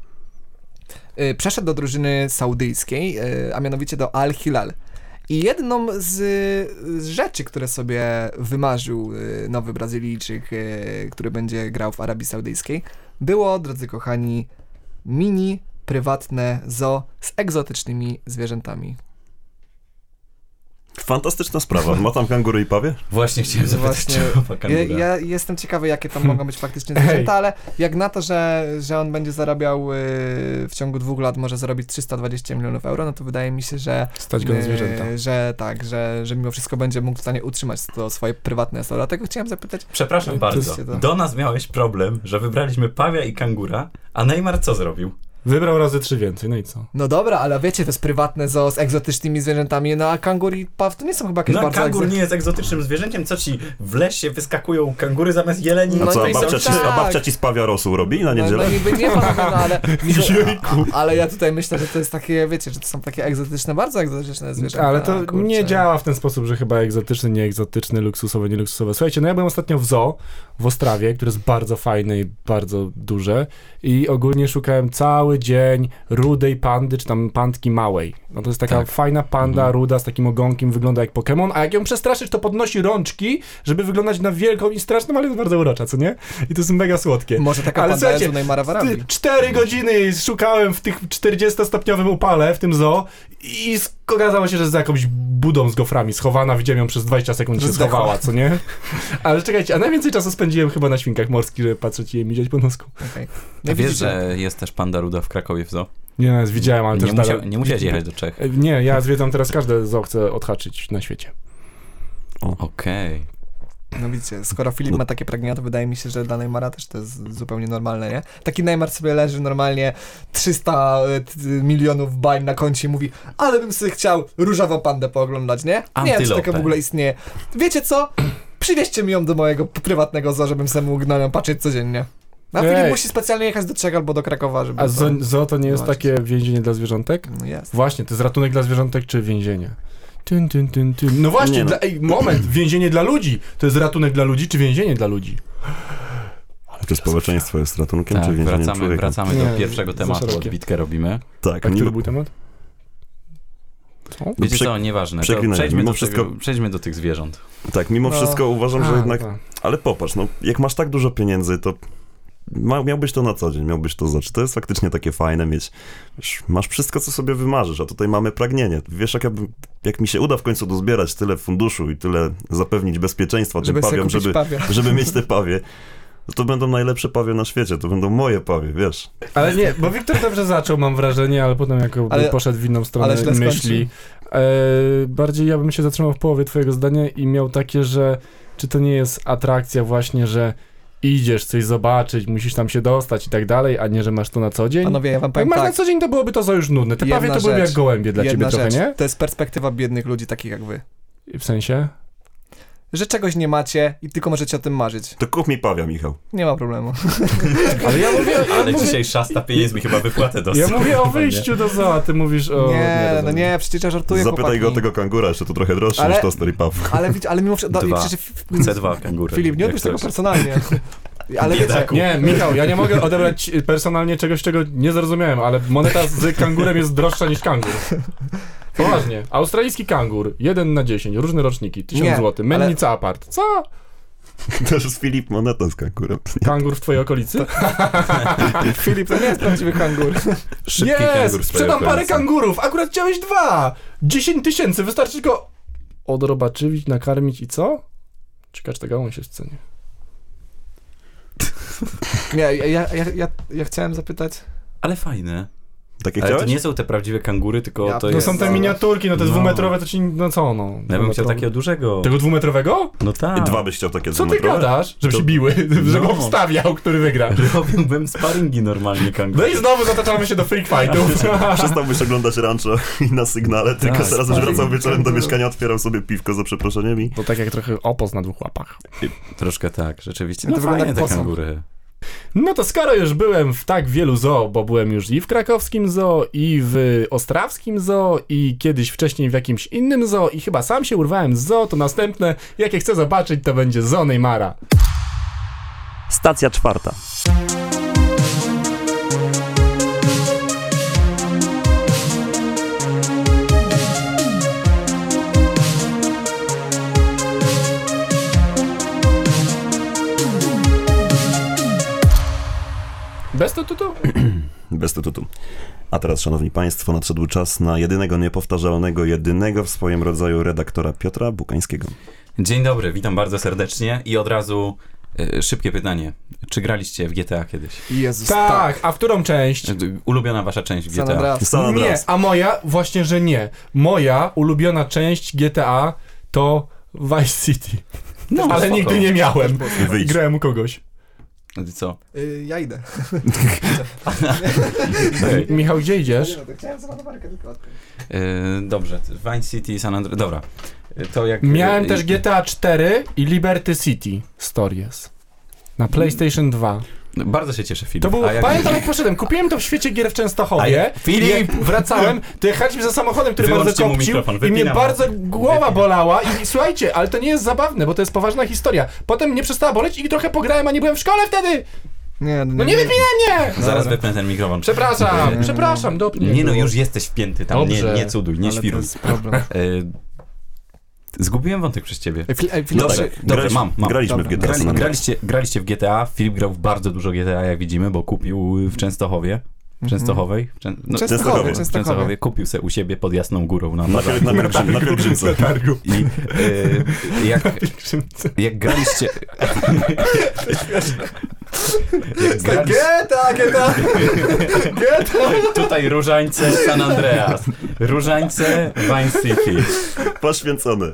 [SPEAKER 4] y, przeszedł do drużyny saudyjskiej, y, a mianowicie do Al-Hilal. I jedną z, y, z rzeczy, które sobie wymarzył y, nowy Brazylijczyk, y, który będzie grał w Arabii Saudyjskiej, było, drodzy kochani, mini prywatne zoo z egzotycznymi zwierzętami.
[SPEAKER 2] Fantastyczna sprawa. Ma tam kangury i pawie?
[SPEAKER 1] Właśnie chciałem zapytać, [laughs]
[SPEAKER 4] Właśnie,
[SPEAKER 1] czy ma
[SPEAKER 4] Ja,
[SPEAKER 1] kangura.
[SPEAKER 4] ja jestem ciekawy, jakie tam mogą być faktycznie zwierzęta, ale jak na to, że, że on będzie zarabiał y, w ciągu dwóch lat, może zarobić 320 milionów euro, no to wydaje mi się, że
[SPEAKER 3] Stać go na
[SPEAKER 4] Yy,
[SPEAKER 3] zwierzęta.
[SPEAKER 4] Że tak, że, że mimo wszystko będzie mógł w stanie utrzymać to swoje prywatne SO. Dlatego chciałem zapytać,
[SPEAKER 1] Przepraszam
[SPEAKER 4] To
[SPEAKER 1] bardzo,
[SPEAKER 4] się da.
[SPEAKER 1] do nas miałeś problem, że wybraliśmy pawia i kangura, a Neymar co zrobił?
[SPEAKER 3] Wybrał razy trzy więcej, no i co?
[SPEAKER 4] no dobra, ale wiecie, to jest prywatne zoo z egzotycznymi zwierzętami, no a kangur i paw to nie są chyba jakieś
[SPEAKER 1] No a
[SPEAKER 4] bardzo
[SPEAKER 1] kangur
[SPEAKER 4] egzo-
[SPEAKER 1] nie jest egzotycznym zwierzęciem, co ci w lesie wyskakują kangury zamiast jeleni?
[SPEAKER 2] A
[SPEAKER 4] No
[SPEAKER 2] co,
[SPEAKER 4] to
[SPEAKER 2] a
[SPEAKER 4] i są
[SPEAKER 2] babcia, ci, a
[SPEAKER 4] tak.
[SPEAKER 2] babcia ci spawia rosół robi na
[SPEAKER 4] no,
[SPEAKER 2] niedzielę?
[SPEAKER 4] no niby nie panowie, no
[SPEAKER 1] [laughs]
[SPEAKER 4] ale, ale ja tutaj myślę, że to jest takie, wiecie, że to są takie egzotyczne, bardzo egzotyczne zwierzęta.
[SPEAKER 3] Ale to
[SPEAKER 4] kurczę.
[SPEAKER 3] nie działa w ten sposób, że chyba egzotyczny, nieegzotyczny, luksusowy, nieluksusowy. Słuchajcie, no ja byłem ostatnio w zoo w Ostrawie, które jest bardzo fajne i bardzo duże i ogólnie szukałem cały dzień rudej pandy, czy tam pandki małej. No to jest taka
[SPEAKER 1] Tak.
[SPEAKER 3] fajna panda,
[SPEAKER 1] Mhm.
[SPEAKER 3] ruda, z takim ogonkiem, wygląda jak Pokémon, a jak ją przestraszysz, to podnosi rączki, żeby wyglądać na wielką i straszną, ale jest bardzo urocza, co nie? I to są mega słodkie.
[SPEAKER 4] Może taka
[SPEAKER 3] Ale
[SPEAKER 4] panda jest
[SPEAKER 3] słuchajcie,
[SPEAKER 4] u Neymara w Arabii.
[SPEAKER 3] Ty, cztery godziny szukałem w tych 40-stopniowym upale, w tym zoo i sk- okazało się, że jest za jakąś budą z goframi schowana, widziałem ją przez 20 sekund się
[SPEAKER 4] Zdechła.
[SPEAKER 3] schowała, co nie? Ale czekajcie, a najwięcej czasu spędziłem chyba na świnkach morskich, żeby patrzeć i je widzieć po nosku.
[SPEAKER 4] Okej.
[SPEAKER 1] A
[SPEAKER 4] No
[SPEAKER 1] wiesz,
[SPEAKER 4] widzicie.
[SPEAKER 1] że jest też panda ruda w Krakowie w zoo?
[SPEAKER 3] Nie, no, widziałem, ale
[SPEAKER 1] Nie,
[SPEAKER 3] też
[SPEAKER 1] musiał,
[SPEAKER 3] dalej-
[SPEAKER 1] nie musiałeś jechać do Czech.
[SPEAKER 3] E, Nie, ja zwiedzam teraz każde zoo, chcę odhaczyć na świecie.
[SPEAKER 1] Okej.
[SPEAKER 4] No widzicie, skoro Filip
[SPEAKER 2] No.
[SPEAKER 4] ma takie pragnienia, to wydaje mi się, że dla Neymara też to jest zupełnie normalne, nie? Taki Neymar sobie leży normalnie 300 t- milionów bań na koncie i mówi, ale bym sobie chciał różową pandę pooglądać, nie? Nie wiem, czy taka
[SPEAKER 1] Antylopę.
[SPEAKER 4] w ogóle istnieje. Wiecie co? Przywieźcie mi ją do mojego p- prywatnego zoo, żebym sobie mógł na nią patrzeć codziennie. Na
[SPEAKER 3] Ej.
[SPEAKER 4] Filip musi specjalnie jechać do Czech albo do Krakowa,
[SPEAKER 1] No
[SPEAKER 4] żeby
[SPEAKER 3] A
[SPEAKER 4] to...
[SPEAKER 3] zo- zoo to nie jest
[SPEAKER 4] Zobaczyć.
[SPEAKER 3] takie więzienie dla zwierzątek?
[SPEAKER 4] No jest.
[SPEAKER 3] Właśnie, to jest ratunek dla zwierzątek czy więzienie? Tyn, tyn, tyn, tyn. No właśnie,
[SPEAKER 2] Nie no.
[SPEAKER 3] Dla, ej, moment, więzienie dla ludzi. To jest ratunek dla ludzi czy więzienie dla ludzi?
[SPEAKER 2] Czy społeczeństwo jest ratunkiem,
[SPEAKER 1] Tak,
[SPEAKER 2] czy więzieniem
[SPEAKER 1] wracamy,
[SPEAKER 2] człowieka?
[SPEAKER 1] wracamy
[SPEAKER 3] Nie,
[SPEAKER 1] do pierwszego
[SPEAKER 3] za
[SPEAKER 1] tematu,
[SPEAKER 3] szerokie.
[SPEAKER 1] odbitkę robimy.
[SPEAKER 2] Tak, no
[SPEAKER 3] A który
[SPEAKER 2] niby,
[SPEAKER 3] był temat?
[SPEAKER 2] no
[SPEAKER 1] Wiecie
[SPEAKER 2] prze-
[SPEAKER 1] co, nieważne. To
[SPEAKER 2] przeklinanie.
[SPEAKER 1] przejdźmy,
[SPEAKER 2] Mimo
[SPEAKER 1] do
[SPEAKER 2] wszystko-
[SPEAKER 1] tego, przejdźmy do tych zwierząt.
[SPEAKER 2] tak, mimo
[SPEAKER 4] No.
[SPEAKER 2] wszystko uważam, że
[SPEAKER 3] A,
[SPEAKER 2] jednak...
[SPEAKER 3] tak.
[SPEAKER 2] Ale popatrz, no, jak masz tak dużo pieniędzy, to ma, miałbyś to na co dzień, miałbyś to znaczy. To jest faktycznie takie fajne mieć. Wiesz, masz wszystko, co sobie wymarzysz, a tutaj mamy pragnienie. Wiesz, jak, ja bym, jak mi się uda w końcu dozbierać tyle funduszu i tyle zapewnić bezpieczeństwa
[SPEAKER 4] Żeby
[SPEAKER 2] tym
[SPEAKER 4] sobie
[SPEAKER 2] pawiom,
[SPEAKER 4] kupić
[SPEAKER 2] żeby,
[SPEAKER 4] pawia.
[SPEAKER 2] żeby mieć te pawie, no to będą najlepsze pawie na świecie, to będą moje pawie, wiesz.
[SPEAKER 3] Ale nie, bo Wiktor dobrze zaczął, mam wrażenie, ale potem jako
[SPEAKER 4] Ale-
[SPEAKER 3] poszedł w inną stronę
[SPEAKER 4] ale źle
[SPEAKER 3] myśli. E, bardziej ja bym się zatrzymał w połowie twojego zdania i miał takie, że czy to nie jest atrakcja właśnie, że idziesz coś zobaczyć, musisz tam się dostać i tak dalej, a nie, że masz to na co dzień?
[SPEAKER 4] Panowie, ja wam
[SPEAKER 3] Jak
[SPEAKER 4] powiem
[SPEAKER 3] masz
[SPEAKER 4] tak.
[SPEAKER 3] na co dzień, to byłoby to za już nudne. Te
[SPEAKER 4] Jedna
[SPEAKER 3] pawie to byłyby
[SPEAKER 4] rzecz.
[SPEAKER 3] jak gołębie dla ciebie
[SPEAKER 4] Jedna
[SPEAKER 3] trochę,
[SPEAKER 4] rzecz,
[SPEAKER 3] nie?
[SPEAKER 4] to jest perspektywa biednych ludzi takich jak wy.
[SPEAKER 3] W sensie?
[SPEAKER 4] Że czegoś nie macie i tylko możecie o tym marzyć.
[SPEAKER 2] To kup mi pawia, Michał.
[SPEAKER 4] Nie ma problemu.
[SPEAKER 3] Ale ja mówię,
[SPEAKER 1] Ale dzisiaj szasta pieniędzmi chyba wypłatę dostał.
[SPEAKER 3] ja mówię o wyjściu do zoo, a ty mówisz o...
[SPEAKER 4] nie, no
[SPEAKER 3] rozumiem.
[SPEAKER 4] nie, przecież ja żartuję,
[SPEAKER 2] Zapytaj
[SPEAKER 4] chłopaki.
[SPEAKER 2] go o tego kangura, jeszcze to trochę droższe
[SPEAKER 4] Ale-
[SPEAKER 2] niż toster i paw. [laughs]
[SPEAKER 4] Ale, widz- ale mimo wszystko... do-
[SPEAKER 1] Dwa.
[SPEAKER 4] przecież-
[SPEAKER 1] C2 kangury.
[SPEAKER 4] Filip, nie
[SPEAKER 1] jak
[SPEAKER 4] odbierz tego
[SPEAKER 1] coś.
[SPEAKER 4] personalnie. Ale wiecie,
[SPEAKER 1] Biedaku.
[SPEAKER 3] Nie, Michał, ja nie mogę odebrać personalnie czegoś, czego nie zrozumiałem, ale moneta z kangurem jest droższa niż kangur. Poważnie. Australijski kangur, 1 na 10, różne roczniki, 1000
[SPEAKER 4] Nie,
[SPEAKER 3] zł.
[SPEAKER 4] ale-
[SPEAKER 3] Mennica apart. Co?
[SPEAKER 2] To jest Filip Moneta z kankurem.
[SPEAKER 3] Kangur w twojej okolicy?
[SPEAKER 4] [laughs] Filip to nie jest prawdziwy kangur.
[SPEAKER 1] Szybki
[SPEAKER 3] yes,
[SPEAKER 1] kangur w swojej
[SPEAKER 3] sprzedam parę
[SPEAKER 1] okolicy.
[SPEAKER 3] kangurów, akurat chciałeś dwa. 10 tysięcy, wystarczy tylko odrobaczywić, nakarmić i co? Ciekawe, czy ta gałąź jest w cenie.
[SPEAKER 4] Nie, ja, ja, ja, ja, ja chciałem zapytać.
[SPEAKER 1] Ale fajne.
[SPEAKER 2] Takie
[SPEAKER 1] Ale to
[SPEAKER 2] chciałeś?
[SPEAKER 1] nie są te prawdziwe kangury, tylko
[SPEAKER 4] Ja-
[SPEAKER 1] to
[SPEAKER 4] no
[SPEAKER 3] No
[SPEAKER 1] jest...
[SPEAKER 3] są te
[SPEAKER 4] zaraz.
[SPEAKER 3] miniaturki, no te
[SPEAKER 1] No.
[SPEAKER 3] dwumetrowe, to ci, no co no.
[SPEAKER 1] Ja bym
[SPEAKER 3] dwumetrowe.
[SPEAKER 1] chciał takiego dużego.
[SPEAKER 3] Tego dwumetrowego?
[SPEAKER 1] No tak.
[SPEAKER 2] Dwa byś chciał takie
[SPEAKER 3] Co ty
[SPEAKER 2] dwumetrowe?
[SPEAKER 3] gadasz? Żeby
[SPEAKER 1] To-
[SPEAKER 3] się biły, [laughs] żeby
[SPEAKER 1] No.
[SPEAKER 3] obstawiał, który wygra.
[SPEAKER 1] Robiłbym sparingi normalnie kangur.
[SPEAKER 3] No i znowu zataczamy się do freak fightów. [laughs]
[SPEAKER 2] Przestałbyś oglądać rancho [laughs] i na sygnale, tylko
[SPEAKER 1] Tak,
[SPEAKER 2] teraz już
[SPEAKER 1] tak.
[SPEAKER 2] wracał wieczorem do mieszkania, otwierał sobie piwko za przeproszeniem i
[SPEAKER 3] To tak jak trochę opoz na dwóch łapach.
[SPEAKER 1] Troszkę tak, rzeczywiście.
[SPEAKER 4] To
[SPEAKER 1] No
[SPEAKER 4] wygląda
[SPEAKER 1] fajne
[SPEAKER 4] jak
[SPEAKER 1] te
[SPEAKER 4] posąg.
[SPEAKER 1] kangury.
[SPEAKER 3] No to skoro już byłem w tak wielu zoo, bo byłem już i w krakowskim zoo, i w ostrawskim zoo, i kiedyś wcześniej w jakimś innym zoo, i chyba sam się urwałem z zoo, to następne, jakie chcę zobaczyć, to będzie zoo Neymara.
[SPEAKER 5] Stacja czwarta.
[SPEAKER 3] Bez to tutu?
[SPEAKER 2] bez tytułu. A teraz, szanowni państwo, nadszedł czas na jedynego niepowtarzalnego, jedynego w swoim rodzaju redaktora Piotra Bukańskiego.
[SPEAKER 1] Dzień dobry, witam bardzo serdecznie i od razu e, szybkie pytanie. Czy graliście w GTA kiedyś?
[SPEAKER 4] Jezus, tak.
[SPEAKER 3] Tak, a w którą część?
[SPEAKER 1] E, Ulubiona wasza część w
[SPEAKER 4] San
[SPEAKER 1] GTA?
[SPEAKER 4] Andreas.
[SPEAKER 2] San
[SPEAKER 3] Nie,
[SPEAKER 2] Andreas.
[SPEAKER 3] a moja? Właśnie, że nie. Moja ulubiona część GTA to Vice City.
[SPEAKER 1] No,
[SPEAKER 3] ale
[SPEAKER 1] spoko. E,
[SPEAKER 3] nigdy nie miałem.
[SPEAKER 2] Wyjdź.
[SPEAKER 3] Grałem u kogoś.
[SPEAKER 1] Co?
[SPEAKER 4] Y, ja idę. [laughs]
[SPEAKER 3] Michał, gdzie idziesz?
[SPEAKER 4] Nie, no to chciałem zamadowarkę tylko odkryć.
[SPEAKER 1] E, Dobrze, Vine City, San Andreas. Dobra. E, To jak...
[SPEAKER 3] Miałem
[SPEAKER 1] e,
[SPEAKER 3] też
[SPEAKER 1] i-
[SPEAKER 3] GTA 4 i Liberty City Stories. Na PlayStation 2.
[SPEAKER 1] e, Bardzo się cieszę, Filip.
[SPEAKER 3] To był,
[SPEAKER 1] A jak-
[SPEAKER 3] pamiętam jak poszedłem, kupiłem to w świecie gier w
[SPEAKER 1] A
[SPEAKER 3] Częstochowie.
[SPEAKER 1] jak- Filip!
[SPEAKER 3] Jak wracałem, to jechaliśmy za samochodem, który
[SPEAKER 1] Wyłączcie
[SPEAKER 3] bardzo
[SPEAKER 1] mu
[SPEAKER 3] kopcił
[SPEAKER 1] mikrofon,
[SPEAKER 3] i mnie
[SPEAKER 1] wypinam.
[SPEAKER 3] bardzo głowa
[SPEAKER 1] Wypinam.
[SPEAKER 3] bolała i, i słuchajcie, ale to nie jest zabawne, bo to jest poważna historia. Potem mnie przestała boleć i trochę pograłem, a nie byłem w szkole wtedy!
[SPEAKER 4] Nie,
[SPEAKER 3] No nie wypinaj mnie!
[SPEAKER 1] Zaraz
[SPEAKER 4] Dobra.
[SPEAKER 1] wypnę ten mikrofon.
[SPEAKER 3] Przepraszam,
[SPEAKER 4] Nie.
[SPEAKER 3] przepraszam, dopnij.
[SPEAKER 1] Nie no, już jesteś wpięty tam. Nie,
[SPEAKER 3] Dobrze.
[SPEAKER 1] nie cuduj, nie
[SPEAKER 4] Ale to
[SPEAKER 1] świruj.
[SPEAKER 4] jest problem.
[SPEAKER 1] E, Zgubiłem wątek przez ciebie.
[SPEAKER 4] Ej, Fil- ej, Filip,
[SPEAKER 1] No
[SPEAKER 4] dobrze.
[SPEAKER 1] tak. Dobrze,
[SPEAKER 2] Graliśmy-
[SPEAKER 1] mam, mam.
[SPEAKER 2] Graliśmy
[SPEAKER 4] Dobra.
[SPEAKER 2] w GTA
[SPEAKER 1] Grali,
[SPEAKER 2] San Andreas.
[SPEAKER 1] graliście, graliście w GTA, Filip grał w bardzo dużo GTA, jak widzimy, bo kupił w Częstochowie. W Częstochowej? W Czę... no,
[SPEAKER 4] Mhm. Częstochowie, Częstochowie.
[SPEAKER 1] w Częstochowie. Kupił se u siebie pod Jasną Górą No tak, na
[SPEAKER 2] Na,
[SPEAKER 1] bazarze.
[SPEAKER 2] piel- na, pielgrzym, na pielgrzymce.
[SPEAKER 3] targu.
[SPEAKER 1] I e, jak,
[SPEAKER 4] tak.
[SPEAKER 1] jak graliście... jak graliście...
[SPEAKER 4] tak Geta, geta!
[SPEAKER 1] Tutaj Różańce, San Andreas. Różańce, Vine City. tak.
[SPEAKER 2] Poświęcone.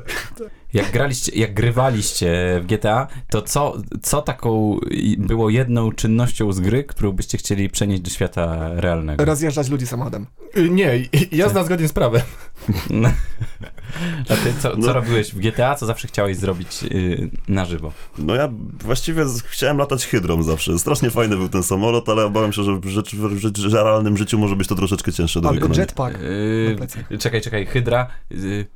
[SPEAKER 1] Jak graliście, jak grywaliście w GTA, to co, co taką i- było jedną czynnością z gry, którą byście chcieli przenieść do świata realnego?
[SPEAKER 4] Rozjeżdżać ludzi samochodem.
[SPEAKER 3] Y, Nie, i- i- jazda zgodnie z prawem.
[SPEAKER 1] No. [laughs] A ty co, co
[SPEAKER 2] No.
[SPEAKER 1] robiłeś w GTA, co zawsze chciałeś zrobić yy, na żywo?
[SPEAKER 2] No ja właściwie z- chciałem latać hydrą zawsze. Strasznie fajny był ten samolot, ale obawiam się, że w, rzecz, w rzecz, że realnym życiu może być to troszeczkę cięższe do
[SPEAKER 4] Albo
[SPEAKER 2] wykonania.
[SPEAKER 4] jetpack.
[SPEAKER 1] Yy,
[SPEAKER 4] Tak, na plecach.
[SPEAKER 1] czekaj, czekaj, Hydra. Yy,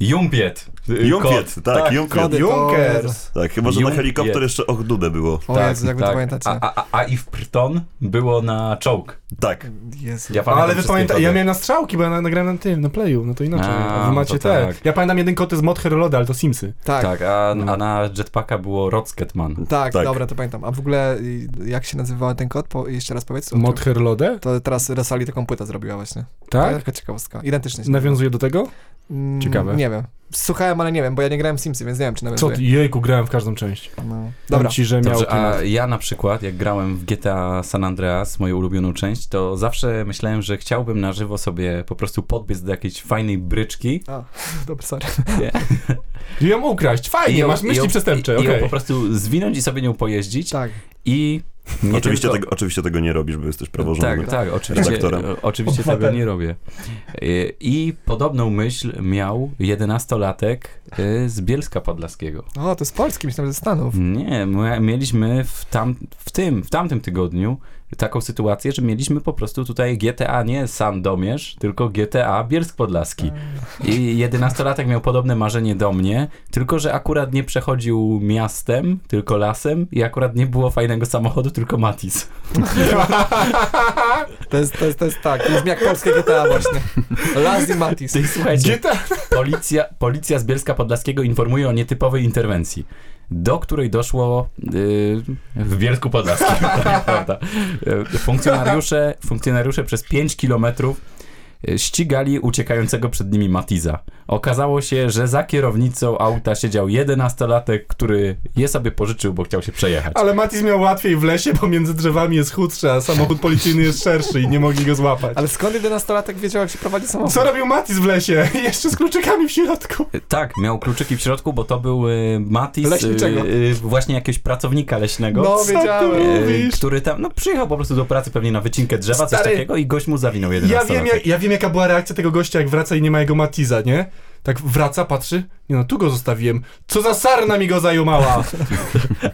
[SPEAKER 1] Jumpiet. Yy,
[SPEAKER 2] Jumpiet,
[SPEAKER 1] kot.
[SPEAKER 2] tak, Jumpiet.
[SPEAKER 4] kody.
[SPEAKER 3] Junkers!
[SPEAKER 2] Tak, chyba, że na
[SPEAKER 1] Jumpiet.
[SPEAKER 2] helikopter jeszcze och dudę było.
[SPEAKER 4] O
[SPEAKER 1] Tak,
[SPEAKER 4] Jezu, jak wy to
[SPEAKER 1] tak.
[SPEAKER 4] pamiętacie.
[SPEAKER 1] A, a, a, a i w Pryton było na czołg.
[SPEAKER 2] Tak.
[SPEAKER 4] Jezu.
[SPEAKER 1] Ja pamiętam
[SPEAKER 3] Ale wy
[SPEAKER 1] wszystkie
[SPEAKER 3] pamiętacie,
[SPEAKER 1] kody.
[SPEAKER 3] ja miałem na strzałki, bo ja na- nagrałem na tym, na playu, no to inaczej.
[SPEAKER 1] A,
[SPEAKER 3] A, wy macie
[SPEAKER 1] no to
[SPEAKER 3] te.
[SPEAKER 1] tak.
[SPEAKER 3] Ja pamiętam jeden koty z Mod Hero Loda, ale to Simsy.
[SPEAKER 4] Tak, tak,
[SPEAKER 1] Tak, a, a na jetpacka było Rocketman.
[SPEAKER 4] tak,
[SPEAKER 2] Tak.
[SPEAKER 4] dobra, to pamiętam. A w ogóle y, jak się nazywał ten kod? Po, jeszcze raz powiedz.
[SPEAKER 3] Mod Hero Lodę?
[SPEAKER 4] To teraz Rosali taką płytę zrobiła właśnie.
[SPEAKER 3] Tak?
[SPEAKER 4] Taka ciekawostka.
[SPEAKER 1] Tak.
[SPEAKER 4] Identycznie. się
[SPEAKER 3] Nawiązuje do tego?
[SPEAKER 4] nazywa. Mm,
[SPEAKER 3] ciekawe.
[SPEAKER 4] Nie wiem. Słuchałem, ale nie wiem, bo ja nie grałem w Simsy, więc nie wiem, czy
[SPEAKER 3] Co
[SPEAKER 4] nawiązuje.
[SPEAKER 3] ty? Jejku, grałem w każdą część.
[SPEAKER 4] No. Dobra.
[SPEAKER 3] Dobra. Ci, że miał
[SPEAKER 1] Tak. Dobrze,
[SPEAKER 3] klimat.
[SPEAKER 1] a ja na przykład, jak grałem w GTA San Andreas, moją ulubioną część, to zawsze myślałem, że chciałbym na żywo sobie po prostu podbiec do jakiejś fajnej bryczki
[SPEAKER 4] A, [laughs] dobra, sorry.
[SPEAKER 3] I ją ukraść. Fajnie,
[SPEAKER 1] ją-
[SPEAKER 3] masz myśli
[SPEAKER 1] ją-
[SPEAKER 3] przestępcze,
[SPEAKER 1] i, i
[SPEAKER 3] okej.
[SPEAKER 1] ją po prostu zwinąć i sobie nią pojeździć
[SPEAKER 4] Tak.
[SPEAKER 1] i... nie
[SPEAKER 2] Oczywiście,
[SPEAKER 1] tylko-
[SPEAKER 2] tego, oczywiście tego nie robisz, bo jesteś praworządny.
[SPEAKER 1] Tak, tak, oczywiście,
[SPEAKER 2] Redaktorem.
[SPEAKER 1] o- oczywiście tego nie robię. Y, I podobną myśl miał 11-latek y, z Bielska Podlaskiego.
[SPEAKER 4] O, to jest polski, myślałem, że ze Stanów.
[SPEAKER 1] Nie, my- mieliśmy w, tam, w tym, w tamtym tygodniu taką sytuację, że mieliśmy po prostu tutaj GTA nie Sandomierz, tylko GTA Bielsk Podlaski. I jedenastolatek miał podobne marzenie do mnie, tylko że akurat nie przechodził miastem, tylko lasem i akurat nie było fajnego samochodu, tylko Matis.
[SPEAKER 4] To jest, to jest, to jest tak, to jest jak polskie GTA właśnie.
[SPEAKER 3] [laughs]
[SPEAKER 4] Las i Matis.
[SPEAKER 1] Ty, słuchajcie, policja, policja z Bielska Podlaskiego informuje o nietypowej interwencji, do której doszło yy, w Bielsku Podlaskim. [laughs] to nieprawda. Yy, Funkcjonariusze, funkcjonariusze przez 5 kilometrów yy, ścigali uciekającego przed nimi Matiza. Okazało się, że za kierownicą auta siedział 11-latek, który je sobie pożyczył, bo chciał się przejechać.
[SPEAKER 3] Ale Matis miał łatwiej w lesie, bo między drzewami jest chudszy, a samochód policyjny jest szerszy i nie mogli go złapać.
[SPEAKER 4] Ale skąd 11-latek wiedział, jak się prowadzi samochód?
[SPEAKER 3] Co robił Matis w lesie? [laughs] Jeszcze z kluczykami w środku.
[SPEAKER 1] Tak, miał kluczyki w środku, bo to był y, Matis,
[SPEAKER 4] Leśniczego.
[SPEAKER 1] y, y, właśnie jakiegoś pracownika leśnego.
[SPEAKER 4] No,
[SPEAKER 3] Co
[SPEAKER 4] wiedziałem.
[SPEAKER 3] ty
[SPEAKER 1] e,
[SPEAKER 3] mówisz?
[SPEAKER 1] który tam, no przyjechał po prostu do pracy pewnie na wycinkę drzewa,
[SPEAKER 3] Stary,
[SPEAKER 1] coś takiego i gość mu zawinął jeden
[SPEAKER 3] Ja wiem, jak, ja wiem, jaka była reakcja tego gościa, jak wraca i nie ma jego Matiza, nie? Tak wraca, patrzy, nie no, tu go zostawiłem. Co za sarna mi go
[SPEAKER 4] [laughs]
[SPEAKER 3] zajumała!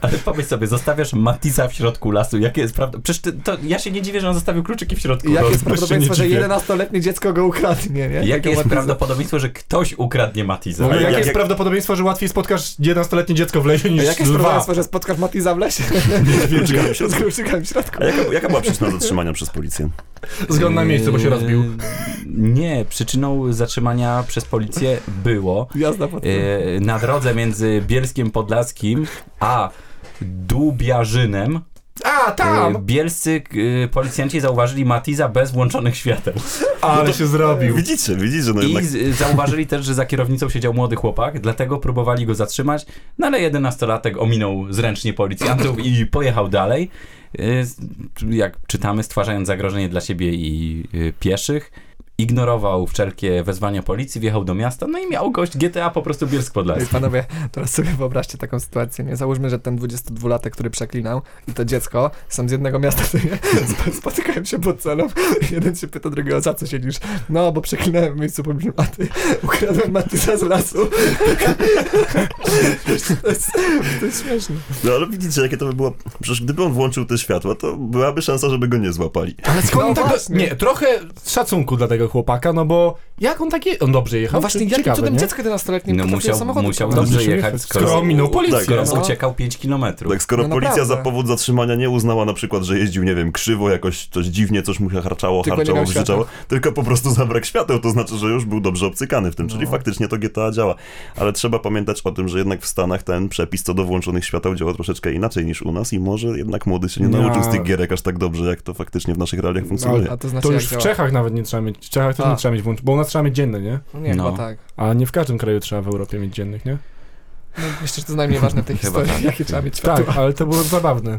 [SPEAKER 1] Ale pomyśl sobie, zostawiasz Matisa w środku lasu, jakie jest prawda? Przecież ty, to, ja się nie dziwię, że on zostawił kluczyki w środku.
[SPEAKER 4] Jakie
[SPEAKER 3] się
[SPEAKER 4] jest
[SPEAKER 3] nie
[SPEAKER 4] prawdopodobieństwo, że
[SPEAKER 3] dziwię.
[SPEAKER 4] 11-letnie dziecko go ukradnie, nie?
[SPEAKER 1] Jakie
[SPEAKER 4] Takiego
[SPEAKER 1] jest
[SPEAKER 4] Matisa.
[SPEAKER 1] prawdopodobieństwo, że ktoś ukradnie Matisa?
[SPEAKER 3] Jakie
[SPEAKER 2] jak-
[SPEAKER 3] jest
[SPEAKER 2] jak-
[SPEAKER 3] prawdopodobieństwo, że łatwiej spotkasz 11-letnie dziecko w lesie niż
[SPEAKER 4] Jakie jest
[SPEAKER 3] lwa?
[SPEAKER 4] prawdopodobieństwo, że spotkasz Matiza w lesie?
[SPEAKER 1] tak.
[SPEAKER 2] [laughs]
[SPEAKER 4] [laughs]
[SPEAKER 2] Kluczykami w
[SPEAKER 4] Z
[SPEAKER 2] środku.
[SPEAKER 4] kluczykami w środku.
[SPEAKER 2] A jaka, jaka była przyczyna zatrzymania przez policję?
[SPEAKER 3] Zgon na miejscu, bo się
[SPEAKER 1] Yy,
[SPEAKER 3] rozbił.
[SPEAKER 1] Nie, przyczyną zatrzymania przez policję było,
[SPEAKER 4] Jazda pod tym.
[SPEAKER 1] e, na drodze między Bielskiem Podlaskim a Dubiarzynem
[SPEAKER 3] A,
[SPEAKER 1] e,
[SPEAKER 3] tam!
[SPEAKER 1] bielscy e, policjanci zauważyli Matiza bez włączonych świateł.
[SPEAKER 4] No
[SPEAKER 3] Ale się zrobił.
[SPEAKER 2] Widzicie, widzicie, że no jednak...
[SPEAKER 1] I z, zauważyli też, że za kierownicą siedział młody chłopak, dlatego próbowali go zatrzymać, no ale jedenastolatek ominął zręcznie policjantów i pojechał dalej. Y, z- Jak czytamy, stwarzając zagrożenie dla siebie i y, pieszych. Ignorował wszelkie wezwania policji, wjechał do miasta, no i miał gość GTA po prostu Bielsk
[SPEAKER 4] Ej,
[SPEAKER 1] Podlaski.
[SPEAKER 4] panowie, teraz sobie wyobraźcie taką sytuację, nie? Załóżmy, że ten 22-latek, który przeklinał i to dziecko są z jednego miasta, co nie? Sp- spotykają się pod celą jeden się pyta drugiego, za co siedzisz? No, bo przeklinałem w miejscu publicznym, a ty ukradłem Matysa z lasu. to, jest, to jest śmieszne.
[SPEAKER 2] No ale widzicie, jakie to by było... Przecież gdyby on włączył te światła, to byłaby szansa, żeby go nie złapali.
[SPEAKER 3] Ale skąd
[SPEAKER 4] No
[SPEAKER 3] on tak...
[SPEAKER 4] właśnie.
[SPEAKER 3] Nie, trochę szacunku dla tego chłopaka, no bo jak on takie... On dobrze jechał?
[SPEAKER 4] No właśnie,
[SPEAKER 3] Ciekawe,
[SPEAKER 4] jakim cudem
[SPEAKER 3] nie?
[SPEAKER 4] dziecko 11-letnie
[SPEAKER 1] No
[SPEAKER 4] no, potrafiło
[SPEAKER 1] musiał,
[SPEAKER 4] samochodu
[SPEAKER 1] musiał
[SPEAKER 4] prowadzić?
[SPEAKER 1] dobrze
[SPEAKER 3] Musiał
[SPEAKER 1] jechać,
[SPEAKER 3] skoro,
[SPEAKER 1] skoro,
[SPEAKER 3] minął policję.
[SPEAKER 2] tak,
[SPEAKER 1] skoro
[SPEAKER 4] No.
[SPEAKER 1] uciekał 5 kilometrów.
[SPEAKER 2] Tak, skoro
[SPEAKER 4] No
[SPEAKER 2] policja
[SPEAKER 4] naprawdę.
[SPEAKER 2] za powód zatrzymania nie uznała na przykład, że jeździł, nie wiem, krzywo, jakoś coś dziwnie, coś mu się harczało,
[SPEAKER 4] Tylko nie
[SPEAKER 2] harczało,
[SPEAKER 4] miał świateł.
[SPEAKER 2] brzyczało, tylko po prostu [laughs] zabrak świateł, to znaczy, że już był dobrze obcykany w tym,
[SPEAKER 4] No.
[SPEAKER 2] czyli faktycznie to GTA działa. Ale trzeba pamiętać o tym, że jednak w Stanach ten przepis co do włączonych świateł działa troszeczkę inaczej niż u nas i może jednak młody się nie
[SPEAKER 3] No.
[SPEAKER 2] nauczył z tych gierek aż tak dobrze, jak to faktycznie w naszych realiach funkcjonuje.
[SPEAKER 4] A to znaczy,
[SPEAKER 3] To
[SPEAKER 4] jak
[SPEAKER 3] już w
[SPEAKER 4] działa?
[SPEAKER 3] Czechach nawet nie trzeba mieć... W Czechach też
[SPEAKER 4] A.
[SPEAKER 3] nie trzeba mieć włącz... Bo u nas trzeba mieć dzienne, nie?
[SPEAKER 4] No Nie,
[SPEAKER 1] No.
[SPEAKER 4] chyba tak.
[SPEAKER 3] A nie w każdym kraju trzeba w Europie mieć dziennych, nie?
[SPEAKER 4] No, myślę, że to najmniej ważne w tej
[SPEAKER 1] Chyba
[SPEAKER 4] historii,
[SPEAKER 1] tak.
[SPEAKER 4] jakie trzeba mieć światło.
[SPEAKER 3] Tak, ale to było zabawne.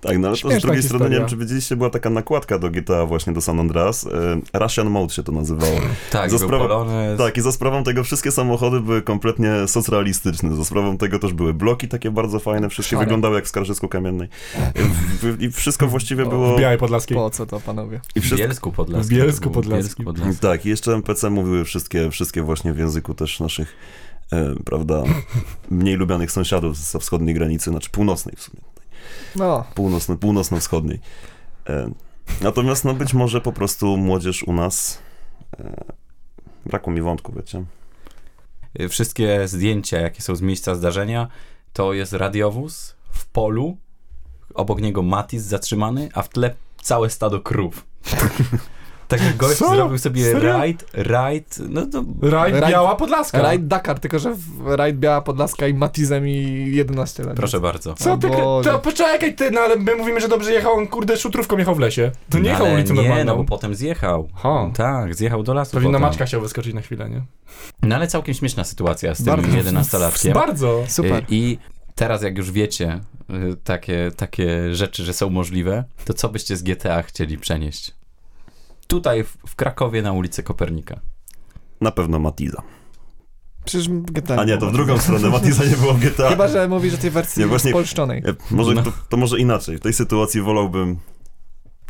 [SPEAKER 2] Tak, no ale to z
[SPEAKER 3] Śmieszna
[SPEAKER 2] drugiej strony, nie
[SPEAKER 3] historia.
[SPEAKER 2] wiem, czy wiedzieliście, była taka nakładka do GTA właśnie do San Andreas, e, Russian Mode się to nazywało.
[SPEAKER 1] Tak,
[SPEAKER 2] Za
[SPEAKER 1] był
[SPEAKER 2] sprawą-
[SPEAKER 1] Polonez.
[SPEAKER 2] Tak, i za sprawą tego wszystkie samochody były kompletnie socrealistyczne. Za sprawą tego też były bloki takie bardzo fajne, wszystkie
[SPEAKER 4] Szare.
[SPEAKER 2] wyglądały jak w Skarżysku Kamiennej. W- I wszystko właściwie
[SPEAKER 4] O,
[SPEAKER 2] było...
[SPEAKER 3] W Białej Podlaskiej.
[SPEAKER 4] Po co to, panowie?
[SPEAKER 2] I
[SPEAKER 1] W
[SPEAKER 2] wszystko...
[SPEAKER 1] Bielsku Podlaskim.
[SPEAKER 3] W Bielsku
[SPEAKER 1] To było
[SPEAKER 3] Podlaskim.
[SPEAKER 1] Bielsku Podlaskim.
[SPEAKER 2] Tak, i jeszcze MPC mówiły wszystkie, wszystkie właśnie w języku też naszych, e, prawda, mniej lubianych sąsiadów ze wschodniej granicy, znaczy północnej w sumie,
[SPEAKER 4] No,
[SPEAKER 2] północno, północno-wschodniej. E, natomiast no być może po prostu młodzież u nas... E, brakło mi wątku, wiecie.
[SPEAKER 1] Y, wszystkie zdjęcia, jakie są z miejsca zdarzenia, to jest radiowóz w polu, obok niego Matis zatrzymany, a w tle całe stado
[SPEAKER 3] [laughs]
[SPEAKER 1] krów. Taki gość
[SPEAKER 3] Co?
[SPEAKER 1] zrobił sobie
[SPEAKER 3] Serio?
[SPEAKER 1] rajd, rajd, no to...
[SPEAKER 3] Raj,
[SPEAKER 4] Raj-
[SPEAKER 3] Biała
[SPEAKER 2] Tak.
[SPEAKER 3] Podlaska.
[SPEAKER 4] Rajd Dakar, tylko że w- rajd Biała Podlaska i Matizem i 11 lat.
[SPEAKER 1] Proszę bardzo.
[SPEAKER 3] Co ty...
[SPEAKER 4] O
[SPEAKER 3] kre-
[SPEAKER 4] Boże.
[SPEAKER 3] To poczekaj ty, no ale my mówimy, że dobrze jechał, on kurde szutrówką jechał w lesie. To nie
[SPEAKER 1] No,
[SPEAKER 3] jechał
[SPEAKER 1] ale
[SPEAKER 3] ulicą
[SPEAKER 1] Nie, no
[SPEAKER 3] normalną.
[SPEAKER 1] bo potem zjechał.
[SPEAKER 3] Ha.
[SPEAKER 1] Tak, zjechał do lasu
[SPEAKER 3] Pewnie na
[SPEAKER 1] potem.
[SPEAKER 3] maczka chciał wyskoczyć na chwilę, nie?
[SPEAKER 1] No ale całkiem śmieszna sytuacja z tym
[SPEAKER 4] Bardzo.
[SPEAKER 1] jedenastolatkiem.
[SPEAKER 3] Bardzo.
[SPEAKER 1] Y,
[SPEAKER 4] Super.
[SPEAKER 1] I teraz jak już wiecie y, takie, takie rzeczy, że są możliwe, to co byście z GTA chcieli przenieść? Tutaj w, w Krakowie na ulicę Kopernika.
[SPEAKER 2] Na pewno Matiza.
[SPEAKER 4] Przecież GTA.
[SPEAKER 2] A nie, to w drugą stronę. Matiza nie
[SPEAKER 4] [laughs]
[SPEAKER 2] było w GTA.
[SPEAKER 4] Tak. Chyba, że mówisz o tej wersji
[SPEAKER 2] Nie, właśnie-
[SPEAKER 4] polszczonej.
[SPEAKER 2] E, Może,
[SPEAKER 1] No.
[SPEAKER 2] to, to może inaczej. W tej sytuacji wolałbym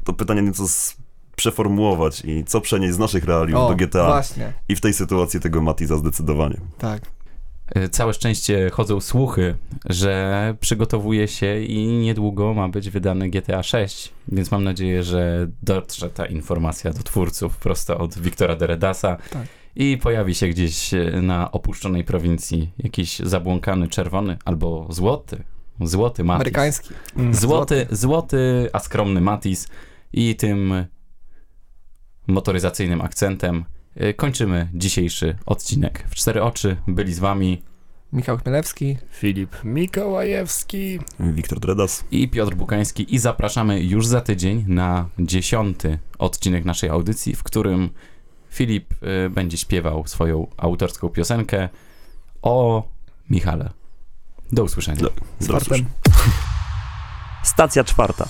[SPEAKER 2] to pytanie nieco z- przeformułować i co przenieść z naszych realiów do GTA.
[SPEAKER 4] właśnie,
[SPEAKER 2] I w tej sytuacji tego Matiza zdecydowanie.
[SPEAKER 4] tak.
[SPEAKER 1] E, Całe szczęście chodzą słuchy, że przygotowuje się i niedługo ma być wydane GTA 6, więc mam nadzieję, że dotrze ta informacja do twórców prosto od Wiktora Deredasa
[SPEAKER 4] Tak.
[SPEAKER 1] i pojawi się gdzieś e, na opuszczonej prowincji jakiś zabłąkany czerwony albo złoty, złoty Matis.
[SPEAKER 4] Amerykański.
[SPEAKER 1] Złoty, złoty, a skromny Matis i tym motoryzacyjnym akcentem y, kończymy dzisiejszy odcinek. W cztery oczy byli z wami
[SPEAKER 4] Michał Chmielewski.
[SPEAKER 6] Filip Mikołajewski.
[SPEAKER 2] Wiktor Dredas.
[SPEAKER 1] i Piotr Bukański i zapraszamy już za tydzień na dziesiąty odcinek naszej audycji, w którym Filip y, będzie śpiewał swoją autorską piosenkę o Michale. Do usłyszenia.
[SPEAKER 2] Do
[SPEAKER 4] Sportem.
[SPEAKER 5] Stacja czwarta.